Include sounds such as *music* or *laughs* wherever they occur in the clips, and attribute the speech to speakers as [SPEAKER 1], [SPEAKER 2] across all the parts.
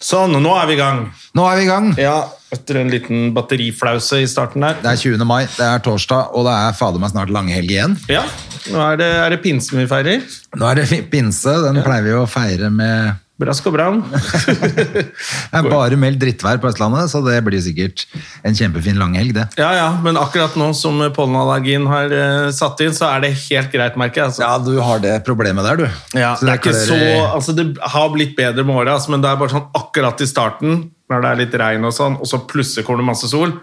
[SPEAKER 1] Sånn, nå er vi i gang.
[SPEAKER 2] Nå er vi i gang.
[SPEAKER 1] Ja, etter en liten batteriflause i starten der.
[SPEAKER 2] Det er 20. mai, det er torsdag, og det er fader meg snart langhelg igjen.
[SPEAKER 1] Ja, nå er det, er det pinsen vi feirer.
[SPEAKER 2] Nå er det pinse, den pleier vi å feire med
[SPEAKER 1] Brask og bram.
[SPEAKER 2] Det er bare meldt drittvær på Østlandet, så det blir sikkert en kjempefin langhelg, det.
[SPEAKER 1] *laughs* Ja, ja, men akkurat nå som pollenallergien har eh, satt inn, så er det helt greit, merker jeg. Altså.
[SPEAKER 2] Ja, du har det problemet der, du.
[SPEAKER 1] Ja,
[SPEAKER 2] Så
[SPEAKER 1] det, er ikke
[SPEAKER 2] klør
[SPEAKER 1] så,
[SPEAKER 2] i-
[SPEAKER 1] altså det har blitt bedre med året, altså, men det er bare sånn akkurat i starten, når det er litt regn og sånn, og så plutselig kommer det masse sol.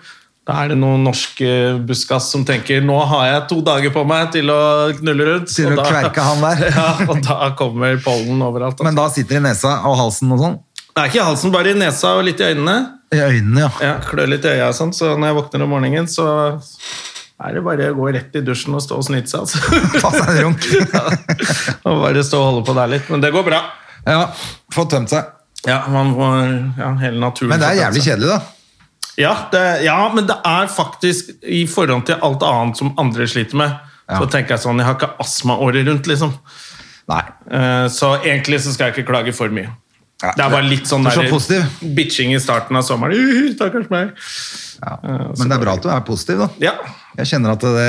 [SPEAKER 1] Da er det noen norske buskas som tenker nå har jeg to dager på meg til å knulle rundt.
[SPEAKER 2] Til
[SPEAKER 1] og
[SPEAKER 2] å
[SPEAKER 1] da-
[SPEAKER 2] kverke han der.
[SPEAKER 1] *laughs* ja, og da kommer pollen overalt.
[SPEAKER 2] Men
[SPEAKER 1] Altså.
[SPEAKER 2] da sitter det i nesa og halsen og sånn.
[SPEAKER 1] Det er ikke i halsen, bare i nesa og litt i øynene.
[SPEAKER 2] I øynene, ja.
[SPEAKER 1] Ja, klør litt i øya og sånn, så når jeg våkner om morgenen, så er det bare å gå rett i dusjen og stå og snyte seg, altså.
[SPEAKER 2] *laughs* Ta seg en runk.
[SPEAKER 1] *laughs* og bare stå og holde på der litt. Men det går bra.
[SPEAKER 2] Ja, få tømt seg.
[SPEAKER 1] Ja, man må, ja, hele naturen
[SPEAKER 2] Men det er
[SPEAKER 1] får
[SPEAKER 2] jævlig
[SPEAKER 1] ta seg.
[SPEAKER 2] kjedelig, da.
[SPEAKER 1] Ja, det, ja, men det er faktisk i forhold til alt annet som andre sliter med.
[SPEAKER 2] Ja.
[SPEAKER 1] Så tenker jeg sånn, jeg har ikke astma året rundt, liksom.
[SPEAKER 2] Nei.
[SPEAKER 1] Eh, Så egentlig så skal jeg ikke klage for mye.
[SPEAKER 2] Ja,
[SPEAKER 1] Det er bare litt sånn
[SPEAKER 2] du er så
[SPEAKER 1] der
[SPEAKER 2] positiv.
[SPEAKER 1] bitching i starten av sommeren. *laughs* Uh, Stakkars meg.
[SPEAKER 2] Men det er bra at du er positiv, da.
[SPEAKER 1] Ja,
[SPEAKER 2] Jeg kjenner at det,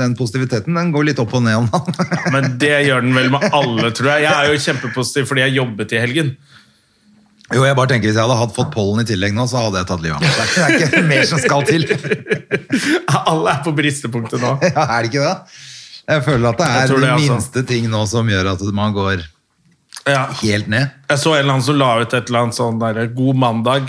[SPEAKER 2] den positiviteten den går litt opp og ned om dagen.
[SPEAKER 1] men det gjør den vel med alle, tror jeg. Jeg er jo kjempepositiv fordi jeg jobbet i helgen.
[SPEAKER 2] Jo, jeg bare tenker Hvis jeg hadde hatt fått pollen i tillegg nå, så hadde jeg tatt livet av meg. Det er ikke- det er ikke mer som skal til.
[SPEAKER 1] Alle er på bristepunktet nå.
[SPEAKER 2] *laughs* Ja, er det ikke det? Jeg føler at det
[SPEAKER 1] Jeg
[SPEAKER 2] er
[SPEAKER 1] tror det,
[SPEAKER 2] de
[SPEAKER 1] altså.
[SPEAKER 2] minste ting nå som gjør at man går
[SPEAKER 1] Ja.
[SPEAKER 2] helt ned.
[SPEAKER 1] Jeg så en eller annen som la ut et eller annet sånn der, God mandag.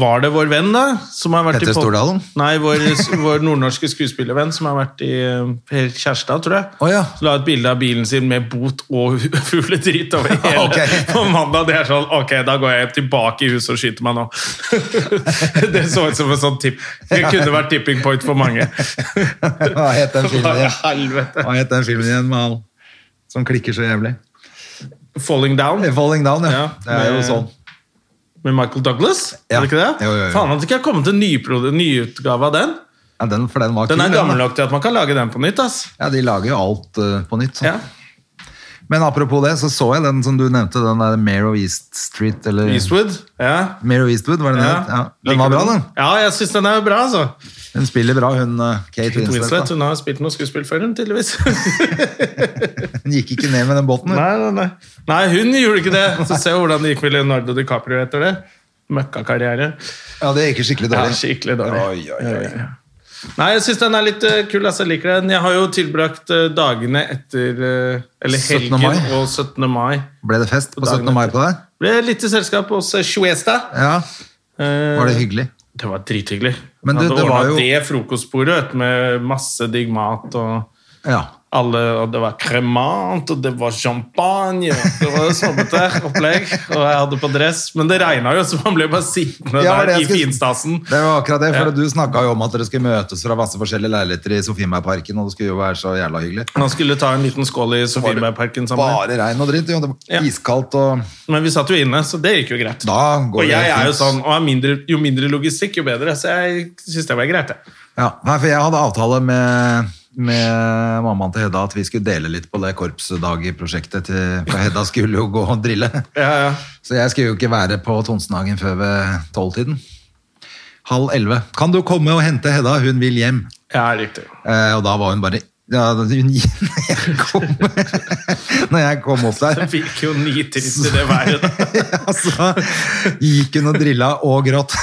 [SPEAKER 1] Var det vår venn, da? Som har vært
[SPEAKER 2] Petter
[SPEAKER 1] i pod-
[SPEAKER 2] Stordalen?
[SPEAKER 1] Nei, vår, vår nordnorske skuespillervenn som har vært i eh, Per Kjærstad, tror jeg.
[SPEAKER 2] Å, ja.
[SPEAKER 1] Så La ut bilde av bilen sin med bot og *laughs* fugledritt over hele
[SPEAKER 2] Ok.
[SPEAKER 1] *laughs* på mandag. Det er sånn Ok, da går jeg tilbake i huset og skyter meg nå. *laughs* det så ut som en sånn tipp. Det kunne vært tipping point for mange.
[SPEAKER 2] *laughs* Hva het den filmen
[SPEAKER 1] Hva i
[SPEAKER 2] igjen?
[SPEAKER 1] helvete?
[SPEAKER 2] Hva het den filmen igjen med han som klikker så jævlig?
[SPEAKER 1] Falling down
[SPEAKER 2] Falling Down, ja.
[SPEAKER 1] Ja,
[SPEAKER 2] det er jo
[SPEAKER 1] med-
[SPEAKER 2] sånn.
[SPEAKER 1] med Michael Douglas.
[SPEAKER 2] Ja.
[SPEAKER 1] Er det ikke det?
[SPEAKER 2] Jo, jo, jo.
[SPEAKER 1] Faen at det ikke har kommet en nyprodu- nyutgave av den.
[SPEAKER 2] Ja, den, for den var
[SPEAKER 1] Den
[SPEAKER 2] kul,
[SPEAKER 1] er
[SPEAKER 2] da.
[SPEAKER 1] gammel nok til at man kan lage den på nytt. ass.
[SPEAKER 2] Ja, de lager jo alt eh, på nytt. sånn.
[SPEAKER 1] Ja.
[SPEAKER 2] Men apropos det, så så jeg den som du nevnte, den der Mare of East Street, eller...
[SPEAKER 1] Eastwood. Ja.
[SPEAKER 2] Mare of Eastwood, var det den het? Ja. Den
[SPEAKER 1] Liker
[SPEAKER 2] var
[SPEAKER 1] du
[SPEAKER 2] bra, den.
[SPEAKER 1] Ja, jeg syns den er bra, altså.
[SPEAKER 2] Hun spiller bra, hun eh, Kate
[SPEAKER 1] Kate
[SPEAKER 2] Winslet.
[SPEAKER 1] Winslet
[SPEAKER 2] da.
[SPEAKER 1] hun har spilt noe skuespill før, hun, tydeligvis.
[SPEAKER 2] *laughs* Hun gikk ikke ned med den båten. hun.
[SPEAKER 1] nei, nei, nei. nei, hun gjorde ikke det. Så se hvordan det gikk med Leonardo DiCaprio etter det. Møkkakarriere.
[SPEAKER 2] Ja, det gikk skikkelig
[SPEAKER 1] Ja,
[SPEAKER 2] dårlig.
[SPEAKER 1] skikkelig dårlig.
[SPEAKER 2] Oi, oi, oi.
[SPEAKER 1] Nei, jeg syns den er litt eh, kul. Altså, jeg liker den. Jeg har jo tilbrakt eh, dagene etter eh, Eller
[SPEAKER 2] 17.
[SPEAKER 1] helgen
[SPEAKER 2] mai.
[SPEAKER 1] og 17. mai.
[SPEAKER 2] Ble det fest på 17. mai på deg?
[SPEAKER 1] Ble litt i selskap hos eh, Shuesta.
[SPEAKER 2] Ja,
[SPEAKER 1] Eh,
[SPEAKER 2] var det hyggelig?
[SPEAKER 1] Det var drithyggelig.
[SPEAKER 2] Men du,
[SPEAKER 1] Jeg hadde
[SPEAKER 2] det var
[SPEAKER 1] ordnet
[SPEAKER 2] jo-
[SPEAKER 1] det frokostbordet vet du, med masse digg mat og
[SPEAKER 2] Ja.
[SPEAKER 1] alle, og det var kremant, og det var champagne og Det var snobbete *laughs* opplegg, og jeg hadde på dress. Men det regna jo, så man ble bare sittende
[SPEAKER 2] Ja, det
[SPEAKER 1] der
[SPEAKER 2] jeg
[SPEAKER 1] i
[SPEAKER 2] skulle-
[SPEAKER 1] finstasen.
[SPEAKER 2] Det var akkurat det, for
[SPEAKER 1] Ja.
[SPEAKER 2] du snakka jo om at dere skulle møtes fra masse forskjellige leiligheter i Sofienbergparken, og det skulle jo være så jævla hyggelig.
[SPEAKER 1] Man skulle ta en liten skål i Sofienbergparken sammen.
[SPEAKER 2] Bare regn og dritt, jo. Det
[SPEAKER 1] Ja.
[SPEAKER 2] var iskaldt og
[SPEAKER 1] Men vi satt jo inne, så det gikk jo greit.
[SPEAKER 2] Da går
[SPEAKER 1] og
[SPEAKER 2] det
[SPEAKER 1] jeg
[SPEAKER 2] fint.
[SPEAKER 1] er jo sånn, og er mindre, jo mindre logistikk, jo bedre. Så jeg syns det var greit, jeg.
[SPEAKER 2] Ja, nei, for jeg hadde avtale med, med mammaen til Hedda at vi skulle dele litt på det korpsdagprosjektet til For Hedda skulle jo gå og drille.
[SPEAKER 1] Ja, ja.
[SPEAKER 2] Så jeg skulle jo ikke være på Tonsenhagen før ved tolvtiden. Halv elleve. Kan du komme og hente Hedda? Hun vil hjem.
[SPEAKER 1] Ja, riktig.
[SPEAKER 2] Eh, og da var hun bare ja, hun, *laughs* når, jeg kom, når jeg kom opp der, *laughs*
[SPEAKER 1] Jeg fikk jo nitrist i det været. da.
[SPEAKER 2] ja, så gikk hun og drilla og gråt.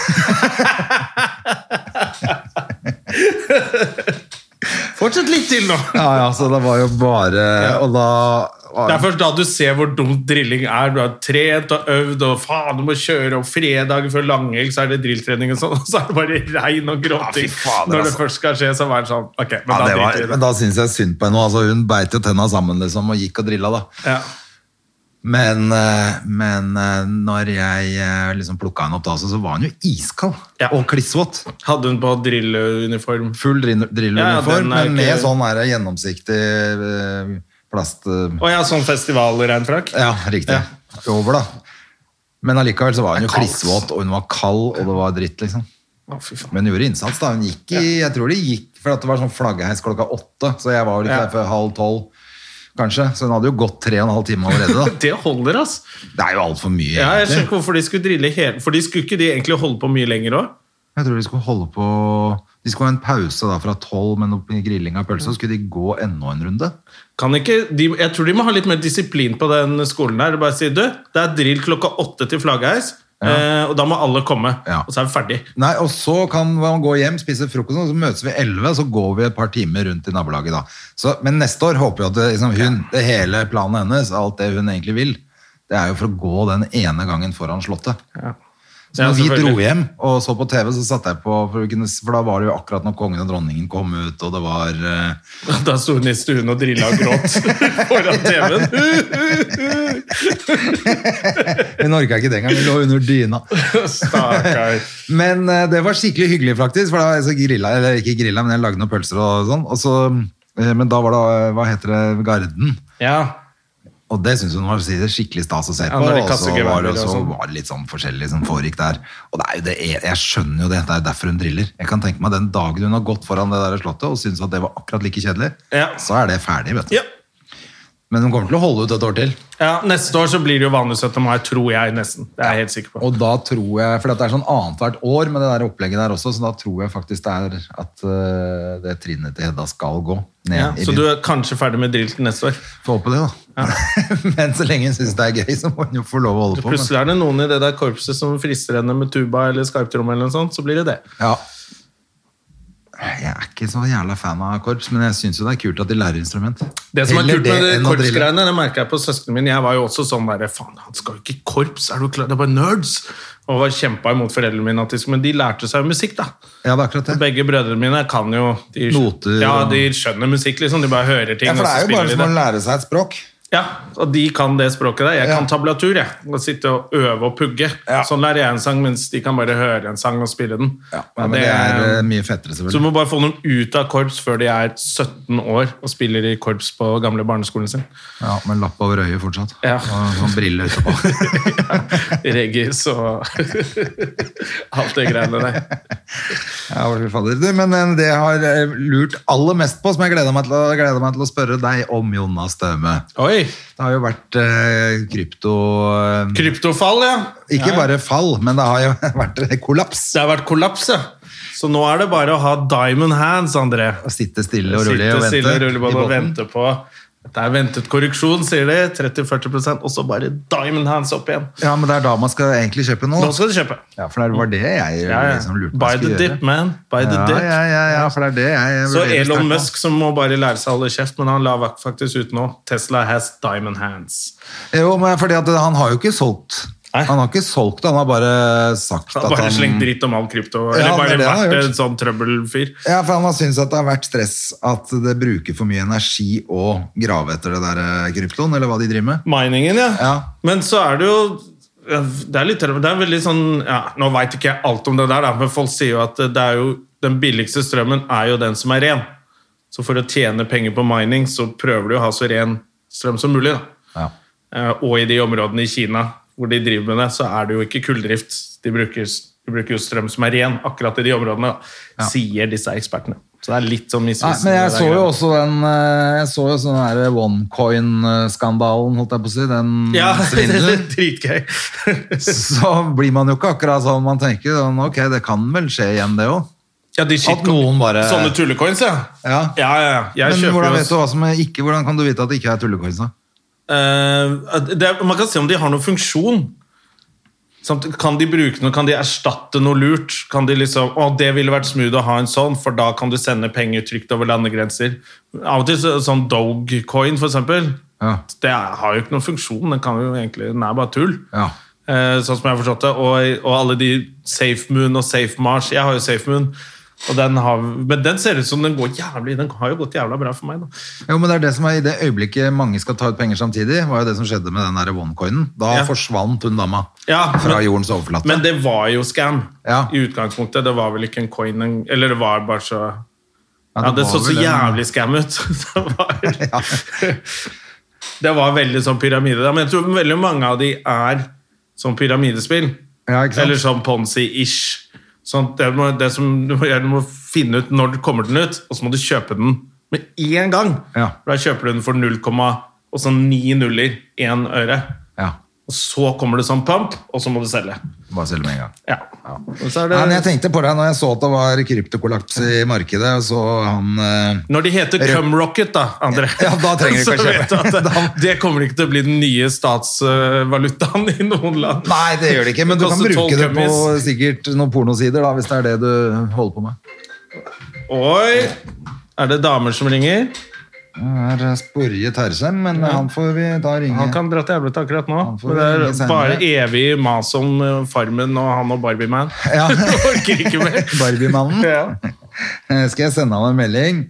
[SPEAKER 1] Fortsett litt til nå.
[SPEAKER 2] Ja, ja, så det var jo bare Og da var
[SPEAKER 1] Det er først da du ser hvor dumt drilling er. Du har trent og øvd, og faen, du må kjøre, og fredag før langhelg så er det drilltrening og sånn, og så er det bare regn og gråting.
[SPEAKER 2] Ja, fy fader,
[SPEAKER 1] Når det
[SPEAKER 2] altså.
[SPEAKER 1] først skal skje, så er det sånn Ok, men
[SPEAKER 2] ja,
[SPEAKER 1] da
[SPEAKER 2] det var,
[SPEAKER 1] driter vi i
[SPEAKER 2] men
[SPEAKER 1] det.
[SPEAKER 2] da syns jeg synd på henne. Altså, hun beit jo tenna sammen liksom, og gikk og drilla. da.
[SPEAKER 1] Ja.
[SPEAKER 2] Men, eh, men eh, når jeg eh, liksom plukka henne opp da, så- så var han jo iskald
[SPEAKER 1] Ja.
[SPEAKER 2] og klissvåt.
[SPEAKER 1] Hadde hun på drilleuniform?
[SPEAKER 2] Full drin-
[SPEAKER 1] Ja, ja,
[SPEAKER 2] drilluniform,
[SPEAKER 1] den er
[SPEAKER 2] men
[SPEAKER 1] ikke-
[SPEAKER 2] med sånn der gjennomsiktig eh, plast... eh,
[SPEAKER 1] Å ja, sånn festivalregnfrakk?
[SPEAKER 2] Ja, riktig.
[SPEAKER 1] Ja.
[SPEAKER 2] Over, da. Men allikevel så var hun jo
[SPEAKER 1] Det er kaldt.
[SPEAKER 2] klissvåt, og hun var kald, og det var dritt, liksom.
[SPEAKER 1] Å, fy faen.
[SPEAKER 2] Men hun gjorde innsats, da. Hun gikk i Jeg tror det gikk, for at det var sånn flaggeheis klokka åtte, så jeg var vel ikke
[SPEAKER 1] Ja.
[SPEAKER 2] der før halv tolv, kanskje. Så hun hadde jo gått tre og en halv time
[SPEAKER 1] *laughs*
[SPEAKER 2] allerede, da.
[SPEAKER 1] Det holder, ass.
[SPEAKER 2] Det er jo altfor mye,
[SPEAKER 1] Ja, jeg skjønner
[SPEAKER 2] egentlig.
[SPEAKER 1] ikke hvorfor de skulle drille hele For de skulle ikke de egentlig holde på mye lenger òg?
[SPEAKER 2] Jeg tror de skulle holde på De skulle ha en pause da fra tolv med noe grilling av pølse, og så skulle de gå enda en runde.
[SPEAKER 1] Kan ikke, de, jeg tror de må ha litt mer disiplin på den skolen her. Bare si du, det er drill klokka åtte til flaggheis, eh, og da må alle komme.
[SPEAKER 2] Ja.
[SPEAKER 1] Og så er vi ferdig. *laughs*
[SPEAKER 2] Nei, og så kan man gå hjem, spise frokost, og så møtes vi 11, så går vi et par timer rundt i nabolaget da. Så, men neste år håper jeg at det, liksom, hun, det hele planen hennes, alt det hun egentlig vil, det er jo for å gå den ene gangen foran slottet. Så
[SPEAKER 1] Ja,
[SPEAKER 2] når vi
[SPEAKER 1] selvfølgelig.
[SPEAKER 2] dro hjem og så på TV, så satt jeg på, for, å kunne, s- for da var det jo akkurat når kongen og dronningen kom ut, og det var... eh,
[SPEAKER 1] Da sto hun i stuen og drilla og gråt *laughs* foran
[SPEAKER 2] *laughs*
[SPEAKER 1] TV-en.
[SPEAKER 2] I Norge er ikke det engang, vi lå under dyna.
[SPEAKER 1] Stakkar.
[SPEAKER 2] Men eh, det var skikkelig hyggelig faktisk, for da altså, grilla, eller ikke grilla, men jeg lagde noen pølser og sånn, og så, eh, men da var det, eh, hva heter det, garden.
[SPEAKER 1] Ja.
[SPEAKER 2] Og det syns hun var si det, skikkelig stas å se på.
[SPEAKER 1] når de
[SPEAKER 2] og så
[SPEAKER 1] kaster
[SPEAKER 2] var det
[SPEAKER 1] geværer og
[SPEAKER 2] så
[SPEAKER 1] sånn.
[SPEAKER 2] var det litt sånn forskjellig som foregikk der. Og det er jo det, jeg skjønner jo det, det er jo derfor hun driller. Jeg kan tenke meg den dagen hun har gått foran det der slottet og syns at det var akkurat like kjedelig,
[SPEAKER 1] Ja.
[SPEAKER 2] så er det ferdig, vet du.
[SPEAKER 1] ja.
[SPEAKER 2] Men hun kommer til å holde ut et år til.
[SPEAKER 1] ja. Neste år så blir det jo vanlig 17. mai, tror jeg nesten. Det er jeg helt sikker på.
[SPEAKER 2] Og da tror jeg, for det er sånn annethvert år med det der opplegget der også, så da tror jeg faktisk det er at eh, det trinnet til Hedda skal gå ned
[SPEAKER 1] Ja.
[SPEAKER 2] i
[SPEAKER 1] Så
[SPEAKER 2] byen.
[SPEAKER 1] du er kanskje ferdig med drill til neste år.
[SPEAKER 2] Får håpe det, da. *laughs* men så lenge hun syns det er gøy, så må hun jo få lov å holde på. Men,
[SPEAKER 1] Plutselig er det noen i det der korpset som frister henne med tuba eller skarptromme, eller noe sånt, så blir det det.
[SPEAKER 2] Ja. Jeg er ikke så jævla fan av korps, men jeg syns jo det er kult at de lærer instrument.
[SPEAKER 1] Det som
[SPEAKER 2] Heller
[SPEAKER 1] er kult med det
[SPEAKER 2] enn å drille.
[SPEAKER 1] korpsgreiene, det merker jeg på søsknene mine. Jeg var jo også sånn der, faen, han skal jo ikke i korps, er du klar? Det er bare nerds. Og var kjempa imot foreldrene mine, at de, skulle- men de lærte seg jo musikk, da.
[SPEAKER 2] Ja, det er akkurat det.
[SPEAKER 1] Begge brødrene mine kan jo de,
[SPEAKER 2] Noter
[SPEAKER 1] Ja,
[SPEAKER 2] og-
[SPEAKER 1] de skjønner musikk, liksom. De bare hører ting,
[SPEAKER 2] Ja, for
[SPEAKER 1] og
[SPEAKER 2] det
[SPEAKER 1] så
[SPEAKER 2] er jo
[SPEAKER 1] spiller
[SPEAKER 2] bare
[SPEAKER 1] de
[SPEAKER 2] som å
[SPEAKER 1] det.
[SPEAKER 2] lære seg et språk.
[SPEAKER 1] Ja, og de kan det språket der. Jeg
[SPEAKER 2] Ja.
[SPEAKER 1] kan tablatur, jeg. Og sitte og øve og pugge.
[SPEAKER 2] Ja.
[SPEAKER 1] Sånn lærer jeg en sang, mens de kan bare høre en sang og spille den.
[SPEAKER 2] Ja, men det er eh, mye fettere,
[SPEAKER 1] så du
[SPEAKER 2] selvfølgelig.
[SPEAKER 1] må bare få dem ut av korps før de er 17 år og spiller i korps på gamle barneskolen sin.
[SPEAKER 2] Ja, Med lapp over øyet fortsatt.
[SPEAKER 1] Ja.
[SPEAKER 2] Og sånn brille utapå.
[SPEAKER 1] Reggis og *laughs* alt det greiene der.
[SPEAKER 2] *laughs* ja, hva fader. Du, men eh, det jeg har eh, lurt aller mest på, som jeg gleder meg til å, gleder meg til å spørre deg om, Jonas Støme.
[SPEAKER 1] Oi!
[SPEAKER 2] Det har jo vært eh, krypto... eh,
[SPEAKER 1] Kryptofall, ja.
[SPEAKER 2] ikke
[SPEAKER 1] Ja.
[SPEAKER 2] bare fall, men det har jo *laughs* vært kollaps.
[SPEAKER 1] Det har vært kollaps, ja. Så nå er det bare å ha diamond hands, André.
[SPEAKER 2] Å sitte stille og rolig
[SPEAKER 1] Sitte
[SPEAKER 2] og vente.
[SPEAKER 1] stille og rolig
[SPEAKER 2] i
[SPEAKER 1] bare og
[SPEAKER 2] båten.
[SPEAKER 1] vente på Det er ventet korreksjon, sier de. 30-40 og så bare diamond hands opp igjen.
[SPEAKER 2] Ja, men det er da man skal egentlig kjøpe noe.
[SPEAKER 1] Nå skal du kjøpe.
[SPEAKER 2] Ja, for det var det jeg
[SPEAKER 1] Ja, ja.
[SPEAKER 2] liksom lurte på.
[SPEAKER 1] Buy the dip, man. Buy the
[SPEAKER 2] ja,
[SPEAKER 1] dip.
[SPEAKER 2] ja, ja, ja, for det er det jeg
[SPEAKER 1] Så
[SPEAKER 2] vurderer sterkt
[SPEAKER 1] Elon
[SPEAKER 2] nå.
[SPEAKER 1] Musk som må bare lære seg å holde kjeft, men han la faktisk ut nå. Tesla has diamond hands.
[SPEAKER 2] Jo, men fordi at han har jo ikke solgt.
[SPEAKER 1] Nei.
[SPEAKER 2] Han har ikke solgt, han har bare sagt
[SPEAKER 1] Han har
[SPEAKER 2] at
[SPEAKER 1] bare
[SPEAKER 2] han
[SPEAKER 1] slengt dritt om all krypto.
[SPEAKER 2] Ja,
[SPEAKER 1] Eller
[SPEAKER 2] det er
[SPEAKER 1] bare
[SPEAKER 2] det han har
[SPEAKER 1] vært
[SPEAKER 2] gjort.
[SPEAKER 1] en sånn trøbbelfyr.
[SPEAKER 2] ja, for han har syntes at det har vært stress at det bruker for mye energi å grave etter det der eh, kryptoen, eller hva de driver med.
[SPEAKER 1] Miningen, ja.
[SPEAKER 2] Ja.
[SPEAKER 1] Men så er det jo ja, Det er litt det er veldig sånn ja, Nå veit ikke jeg alt om det der, da, men folk sier jo at det er jo, den billigste strømmen er jo den som er ren. Så for å tjene penger på mining, så prøver du å ha så ren strøm som mulig. da.
[SPEAKER 2] Ja.
[SPEAKER 1] Eh, Og i de områdene i Kina hvor de driver med det, så er det jo ikke kulldrift. De bruker, de bruker jo strøm som er ren akkurat i de områdene, da, sier disse ekspertene. Så det er litt sånn
[SPEAKER 2] Nei,
[SPEAKER 1] misvisende.
[SPEAKER 2] men
[SPEAKER 1] det
[SPEAKER 2] jeg
[SPEAKER 1] der
[SPEAKER 2] så jo
[SPEAKER 1] greiene.
[SPEAKER 2] også den eh, Jeg så jo sånn her OneCoin-skandalen, holdt jeg på å si. Den
[SPEAKER 1] ja, *laughs* det
[SPEAKER 2] svindelen.
[SPEAKER 1] er dritgøy.
[SPEAKER 2] Så blir man jo ikke akkurat sånn. Man tenker jo sånn, ok, det kan vel skje igjen, det òg.
[SPEAKER 1] Ja, de shitcoin-
[SPEAKER 2] At noen bare-
[SPEAKER 1] Sånne tullecoins, ja.
[SPEAKER 2] Sånn Ja.
[SPEAKER 1] ja, ja, ja. Jeg
[SPEAKER 2] Men
[SPEAKER 1] kjøper
[SPEAKER 2] hvordan,
[SPEAKER 1] jo
[SPEAKER 2] vet du hva som er ikke, hvordan kan du vite at det ikke er tullekorps? da?
[SPEAKER 1] Eh, at det, er- Man kan se om de har noen funksjon. Samt, kan de bruke noe, kan de erstatte noe lurt? Kan de liksom, å, Det ville vært smooth å ha en sånn, for da kan du sende penger trygt over landegrenser. Av og til så, sånn Dogecoin, for eksempel.
[SPEAKER 2] Ja.
[SPEAKER 1] Det er, har jo ikke noen funksjon. Den, kan jo egentlig, den er bare tull.
[SPEAKER 2] Ja.
[SPEAKER 1] Eh, sånn som jeg har forstått det. Og, og alle de SafeMoon og SafeMars. Jeg har jo SafeMoon. Og den har, men den ser ut som den går jævlig Den har jo gått jævla bra for meg, da.
[SPEAKER 2] Jo, men det er det som er i det øyeblikket mange skal ta ut penger samtidig, var jo det som skjedde med den der onecoinen. Da
[SPEAKER 1] Ja.
[SPEAKER 2] forsvant hun dama
[SPEAKER 1] Ja,
[SPEAKER 2] fra
[SPEAKER 1] men-
[SPEAKER 2] jordens overflate.
[SPEAKER 1] Men det var jo scam
[SPEAKER 2] Ja.
[SPEAKER 1] i utgangspunktet. Det var vel ikke en coin en- Eller det var bare så Ja, det,
[SPEAKER 2] var
[SPEAKER 1] så så
[SPEAKER 2] vel en-
[SPEAKER 1] jævlig scam ut. *laughs* det,
[SPEAKER 2] *laughs*
[SPEAKER 1] var, *laughs* det var veldig sånn pyramide. da. Men jeg tror veldig mange av de er sånn pyramidespill.
[SPEAKER 2] Ja, ikke sant?
[SPEAKER 1] Eller sånn ponzi-ish. Sånn, det må, det som du, må, gjøre, du må finne ut når det kommer den ut, og så må du kjøpe den med én gang.
[SPEAKER 2] Ja.
[SPEAKER 1] For Da kjøper du den for 0, og så ni nuller, én øre.
[SPEAKER 2] Ja,
[SPEAKER 1] Og så kommer det sånn pump, og så må du selge.
[SPEAKER 2] bare selge med en gang.
[SPEAKER 1] Ja. Og så er
[SPEAKER 2] Nei, men jeg
[SPEAKER 1] det,
[SPEAKER 2] tenkte på deg når jeg så at det var kryptokollaps i markedet, og så han eh,
[SPEAKER 1] når de heter Cumrocket, da, André,
[SPEAKER 2] Ja, da trenger du
[SPEAKER 1] *laughs* så
[SPEAKER 2] ikke å
[SPEAKER 1] vet du
[SPEAKER 2] kjøpe.
[SPEAKER 1] at
[SPEAKER 2] *laughs*
[SPEAKER 1] det, det kommer ikke til å bli den nye statsvalutaen i noen land.
[SPEAKER 2] Nei, det gjør det ikke, men du kan
[SPEAKER 1] koster
[SPEAKER 2] bruke
[SPEAKER 1] 12
[SPEAKER 2] det på
[SPEAKER 1] gummis.
[SPEAKER 2] sikkert noen pornosider, da, hvis det er det du holder på med.
[SPEAKER 1] Oi! Er det damer som ringer?
[SPEAKER 2] Det er eh, Sporje Tersem, men eh, han får vi da ringe.
[SPEAKER 1] Han kan dra til helvete akkurat nå.
[SPEAKER 2] Han får
[SPEAKER 1] Men det
[SPEAKER 2] ringe
[SPEAKER 1] er
[SPEAKER 2] senere.
[SPEAKER 1] bare evig mas om eh, Farmen og han og
[SPEAKER 2] *laughs*
[SPEAKER 1] Barbie-man. *laughs*
[SPEAKER 2] Ja.
[SPEAKER 1] Orker ikke mer.
[SPEAKER 2] Barbie-mannen.
[SPEAKER 1] Ja.
[SPEAKER 2] Eh, Skal jeg sende han en melding?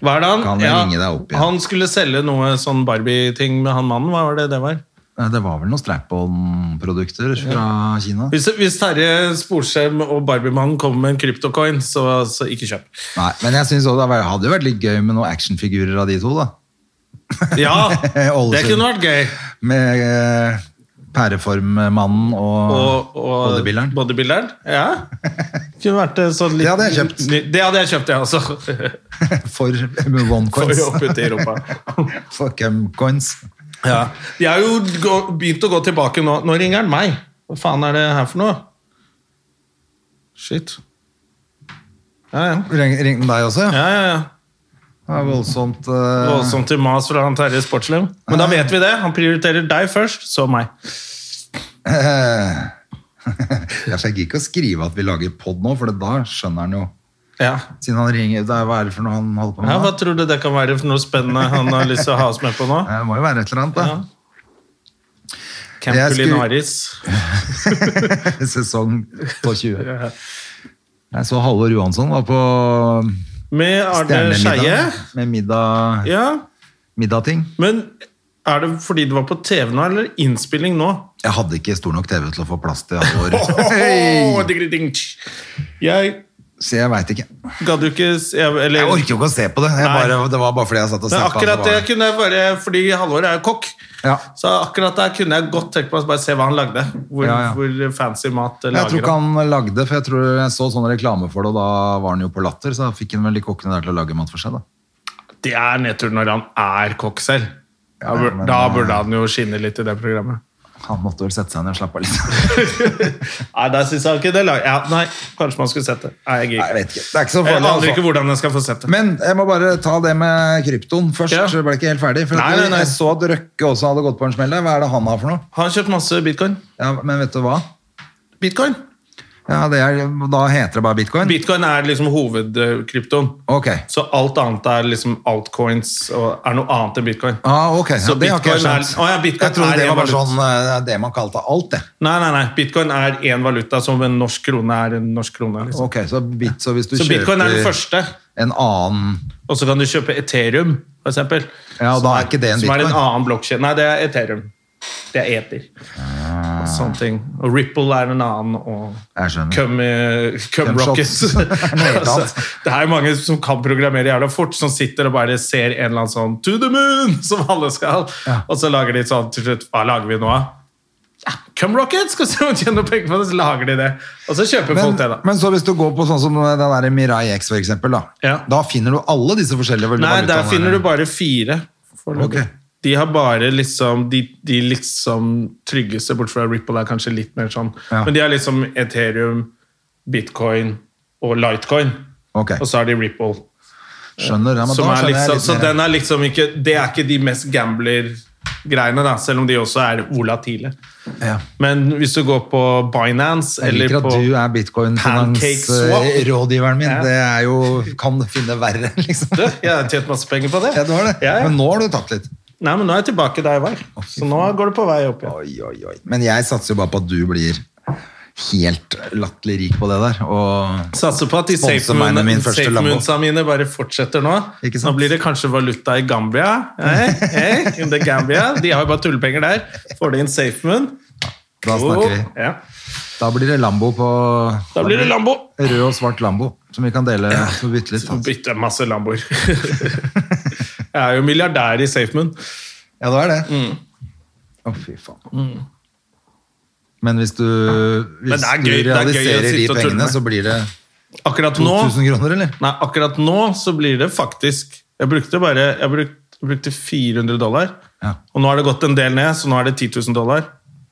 [SPEAKER 1] Hva er det han?
[SPEAKER 2] Kan jeg ringe deg opp igjen?
[SPEAKER 1] Han skulle selge noe sånn Barbie-ting med han mannen. Hva var det det var?
[SPEAKER 2] Eh, Det var vel noen Strap-on-produkter fra Kina?
[SPEAKER 1] Hvis, hvis Terje Sporsem og Barbie-mannen kommer med en kryptocoin, så, så ikke kjøp.
[SPEAKER 2] Nei, men jeg synes også det var- hadde jo vært litt gøy med noen actionfigurer av de to, da. *laughs*
[SPEAKER 1] Ja,
[SPEAKER 2] Ålesund.
[SPEAKER 1] det kunne vært gøy.
[SPEAKER 2] Med eh, pæreformmannen og,
[SPEAKER 1] Og, og
[SPEAKER 2] bodybuilderen.
[SPEAKER 1] bodybuilderen, Ja. Kunne vært eh, sånn litt,
[SPEAKER 2] Det hadde jeg kjøpt.
[SPEAKER 1] ny- Det hadde jeg kjøpt, altså. jeg også.
[SPEAKER 2] *laughs* For med one
[SPEAKER 1] For
[SPEAKER 2] coins.
[SPEAKER 1] å putte i rumpa.
[SPEAKER 2] *laughs* For cum coins.
[SPEAKER 1] Ja. Jeg har jo gå- begynt å gå tilbake nå. Nå ringer han meg. Hva faen er det her for noe? Shit. Ja, ja.
[SPEAKER 2] Ring- Ringte den deg også? Ja.
[SPEAKER 1] Ja, ja, ja.
[SPEAKER 2] Det var voldsomt. eh, *laughs*
[SPEAKER 1] Voldsomt til mas fra han Terje Sportslem. Men da vet vi det. Han prioriterer deg først, så meg.
[SPEAKER 2] Jeg fikk ikke å skrive at vi lager pod nå, for da skjønner han jo.
[SPEAKER 1] Ja.
[SPEAKER 2] Siden han ringer, det er hva er det for noe han holder på med?
[SPEAKER 1] Ja, Hva
[SPEAKER 2] da?
[SPEAKER 1] tror du det kan være for noe spennende han har lyst til å ha oss med på nå?
[SPEAKER 2] det må jo være et eller annet,
[SPEAKER 1] Ja.
[SPEAKER 2] da.
[SPEAKER 1] Camp
[SPEAKER 2] Jeg skulle-
[SPEAKER 1] Culinaris.
[SPEAKER 2] *laughs* Sesong på 20. Jeg så Halvor Johansson var på
[SPEAKER 1] Med Arne Skeie.
[SPEAKER 2] Stjernemiddag med middag,
[SPEAKER 1] Ja,
[SPEAKER 2] middagting.
[SPEAKER 1] men er det fordi det var på TV nå, eller innspilling nå?
[SPEAKER 2] Jeg hadde ikke stor nok TV til å få plass til Halvor,
[SPEAKER 1] *laughs* Åh, digri-ding. Jeg
[SPEAKER 2] så jeg veit ikke.
[SPEAKER 1] gadd jo ikke s- jeg, Eller
[SPEAKER 2] Jeg orker jo ikke å se på det. Jeg
[SPEAKER 1] Nei.
[SPEAKER 2] bare, det var bare fordi jeg satt og
[SPEAKER 1] Men
[SPEAKER 2] snakka.
[SPEAKER 1] akkurat det kunne jeg bare Fordi Halvor er jo kokk.
[SPEAKER 2] Ja.
[SPEAKER 1] Så akkurat der kunne jeg godt tenkt meg å bare se hva han lagde. Hvor,
[SPEAKER 2] Ja, ja.
[SPEAKER 1] hvor fancy mat lager
[SPEAKER 2] Jeg tror ikke han lagde, for jeg tror jeg så sånn reklame for det, og da var han jo på latter, så da fikk han vel de kokkene der til å lage mat for seg, da.
[SPEAKER 1] Det er nedtur når han er kokk selv. Da bur-
[SPEAKER 2] men- eh,
[SPEAKER 1] da burde han jo skinne litt i det programmet.
[SPEAKER 2] Han måtte vel sette seg ned og slappe av litt. *laughs*
[SPEAKER 1] Nei, der synes jeg ikke det lag- ja, Nei, kanskje man skulle sett det. Nei,
[SPEAKER 2] Nei, jeg
[SPEAKER 1] jeg gidder ikke.
[SPEAKER 2] vet ikke. Det er ikke så
[SPEAKER 1] Jeg
[SPEAKER 2] farlig.
[SPEAKER 1] aner ikke
[SPEAKER 2] Altså.
[SPEAKER 1] hvordan jeg skal få sett det.
[SPEAKER 2] Men jeg må bare ta det med kryptoen først.
[SPEAKER 1] Ja.
[SPEAKER 2] så Jeg ble ikke helt ferdig. For
[SPEAKER 1] Nei, nei, nei.
[SPEAKER 2] Jeg så at Røkke også hadde gått på en smell. der. Hva er det han har for noe?
[SPEAKER 1] Har han kjøpt masse bitcoin?
[SPEAKER 2] Ja, men vet du hva?
[SPEAKER 1] Bitcoin
[SPEAKER 2] Ja, det er, Da heter det bare bitcoin?
[SPEAKER 1] Bitcoin er liksom hovedkryptoen.
[SPEAKER 2] Ok.
[SPEAKER 1] Så alt annet er liksom altcoins og er noe annet enn bitcoin.
[SPEAKER 2] Ah, ok. Ja,
[SPEAKER 1] Så
[SPEAKER 2] det har ikke jeg
[SPEAKER 1] bitcoin er-
[SPEAKER 2] skjønt.
[SPEAKER 1] Å ja, bitcoin
[SPEAKER 2] jeg trodde
[SPEAKER 1] er
[SPEAKER 2] det
[SPEAKER 1] en
[SPEAKER 2] var bare
[SPEAKER 1] valuta.
[SPEAKER 2] sånn eh, det man kalte alt, det.
[SPEAKER 1] Nei, nei, nei. Bitcoin er én valuta, som en norsk krone er en norsk krone. Liksom.
[SPEAKER 2] Ok, Så, bit, så hvis du
[SPEAKER 1] Så bitcoin er den
[SPEAKER 2] kjøper
[SPEAKER 1] første,
[SPEAKER 2] en annen
[SPEAKER 1] og så kan du kjøpe Ethereum, for eksempel.
[SPEAKER 2] Ja, og da
[SPEAKER 1] som
[SPEAKER 2] er ikke det en
[SPEAKER 1] Som er en
[SPEAKER 2] bitcoin.
[SPEAKER 1] annen blokkjede. Nei, det er Ethereum. Det er Ether. Og Sånne ting. Og Ripple er en annen, og
[SPEAKER 2] Jeg skjønner.
[SPEAKER 1] Cum, eh, Cum
[SPEAKER 2] Cum
[SPEAKER 1] Rocket.
[SPEAKER 2] Shots. *laughs* Det er noe helt annet.
[SPEAKER 1] *laughs* Altså, det er mange som kan programmere jævla fort, som sitter og bare ser en eller annen sånn To the moon! *laughs* Som alle skal.
[SPEAKER 2] Ja.
[SPEAKER 1] Og så lager de sånn til slutt Hva lager vi nå, da? Ja, Cum Rocket! Skal se om de tjener penger på det, så lager de det. Og så kjøper
[SPEAKER 2] Men,
[SPEAKER 1] folk det, da.
[SPEAKER 2] men så hvis du går på sånn som den der Mirai X, for eksempel, da,
[SPEAKER 1] Ja.
[SPEAKER 2] da finner du alle disse forskjellige
[SPEAKER 1] Nei, der
[SPEAKER 2] valutaene
[SPEAKER 1] finner
[SPEAKER 2] der.
[SPEAKER 1] du bare fire. foreløpig.
[SPEAKER 2] Ok.
[SPEAKER 1] De har bare liksom de, de liksom tryggeste, bort fra Ripple er kanskje litt mer sånn.
[SPEAKER 2] Ja.
[SPEAKER 1] Men de har liksom Ethereum, bitcoin og lightcoin.
[SPEAKER 2] Ok.
[SPEAKER 1] Og så har de Ripple.
[SPEAKER 2] Skjønner, ja, men
[SPEAKER 1] som
[SPEAKER 2] da
[SPEAKER 1] er
[SPEAKER 2] skjønner jeg
[SPEAKER 1] liksom,
[SPEAKER 2] litt
[SPEAKER 1] så
[SPEAKER 2] mer.
[SPEAKER 1] den er liksom ikke Det er ikke de mest gambler-greiene, da, selv om de også er volatile.
[SPEAKER 2] Ja.
[SPEAKER 1] Men hvis du går på Binance
[SPEAKER 2] Jeg
[SPEAKER 1] eller
[SPEAKER 2] liker
[SPEAKER 1] på
[SPEAKER 2] at du er
[SPEAKER 1] Pancake swap.
[SPEAKER 2] bitcoin-finansrådgiveren min.
[SPEAKER 1] Ja.
[SPEAKER 2] Det er jo Kan finne verre, *laughs* liksom.
[SPEAKER 1] Du, Jeg har tjent masse penger på det.
[SPEAKER 2] Ja, du har det.
[SPEAKER 1] Ja, ja.
[SPEAKER 2] Men nå har du tatt litt.
[SPEAKER 1] Nei, men nå er jeg tilbake der jeg var. Så nå går det på vei opp igjen.
[SPEAKER 2] Oi, oi, oi. Men jeg satser jo bare på at du blir helt latterlig rik på det der. Og
[SPEAKER 1] Satser på at de
[SPEAKER 2] Sponse meg med min
[SPEAKER 1] safe-moon-
[SPEAKER 2] første Lambo.
[SPEAKER 1] safe-moonsa mine bare fortsetter nå.
[SPEAKER 2] Ikke
[SPEAKER 1] Nå
[SPEAKER 2] sant?
[SPEAKER 1] blir det kanskje valuta i Gambia. Hey, hey, in the Gambia. De har jo bare tullepenger der. Får de inn safe-moon?
[SPEAKER 2] da snakker vi.
[SPEAKER 1] Ja.
[SPEAKER 2] Da blir det Lambo på
[SPEAKER 1] Da blir det Lambo.
[SPEAKER 2] Rød og svart Lambo, som vi kan dele og bytte litt. altså.
[SPEAKER 1] Bytte masse Lamboer. *laughs* Jeg er jo milliardær i safe-moon.
[SPEAKER 2] *laughs* Ja, det er det. Å,
[SPEAKER 1] Mm.
[SPEAKER 2] fy faen. Men hvis du, hvis
[SPEAKER 1] det er
[SPEAKER 2] du
[SPEAKER 1] gøy- det er gøy å
[SPEAKER 2] realiserer de
[SPEAKER 1] sitte og tulle
[SPEAKER 2] pengene,
[SPEAKER 1] med.
[SPEAKER 2] så blir det
[SPEAKER 1] Akkurat nå
[SPEAKER 2] 2000 kroner, eller?
[SPEAKER 1] Nei, akkurat nå så blir det faktisk Jeg brukte bare Jeg brukte, brukte 400 dollar.
[SPEAKER 2] Ja.
[SPEAKER 1] Og nå har det gått en del ned, så nå er det 10 000 dollar.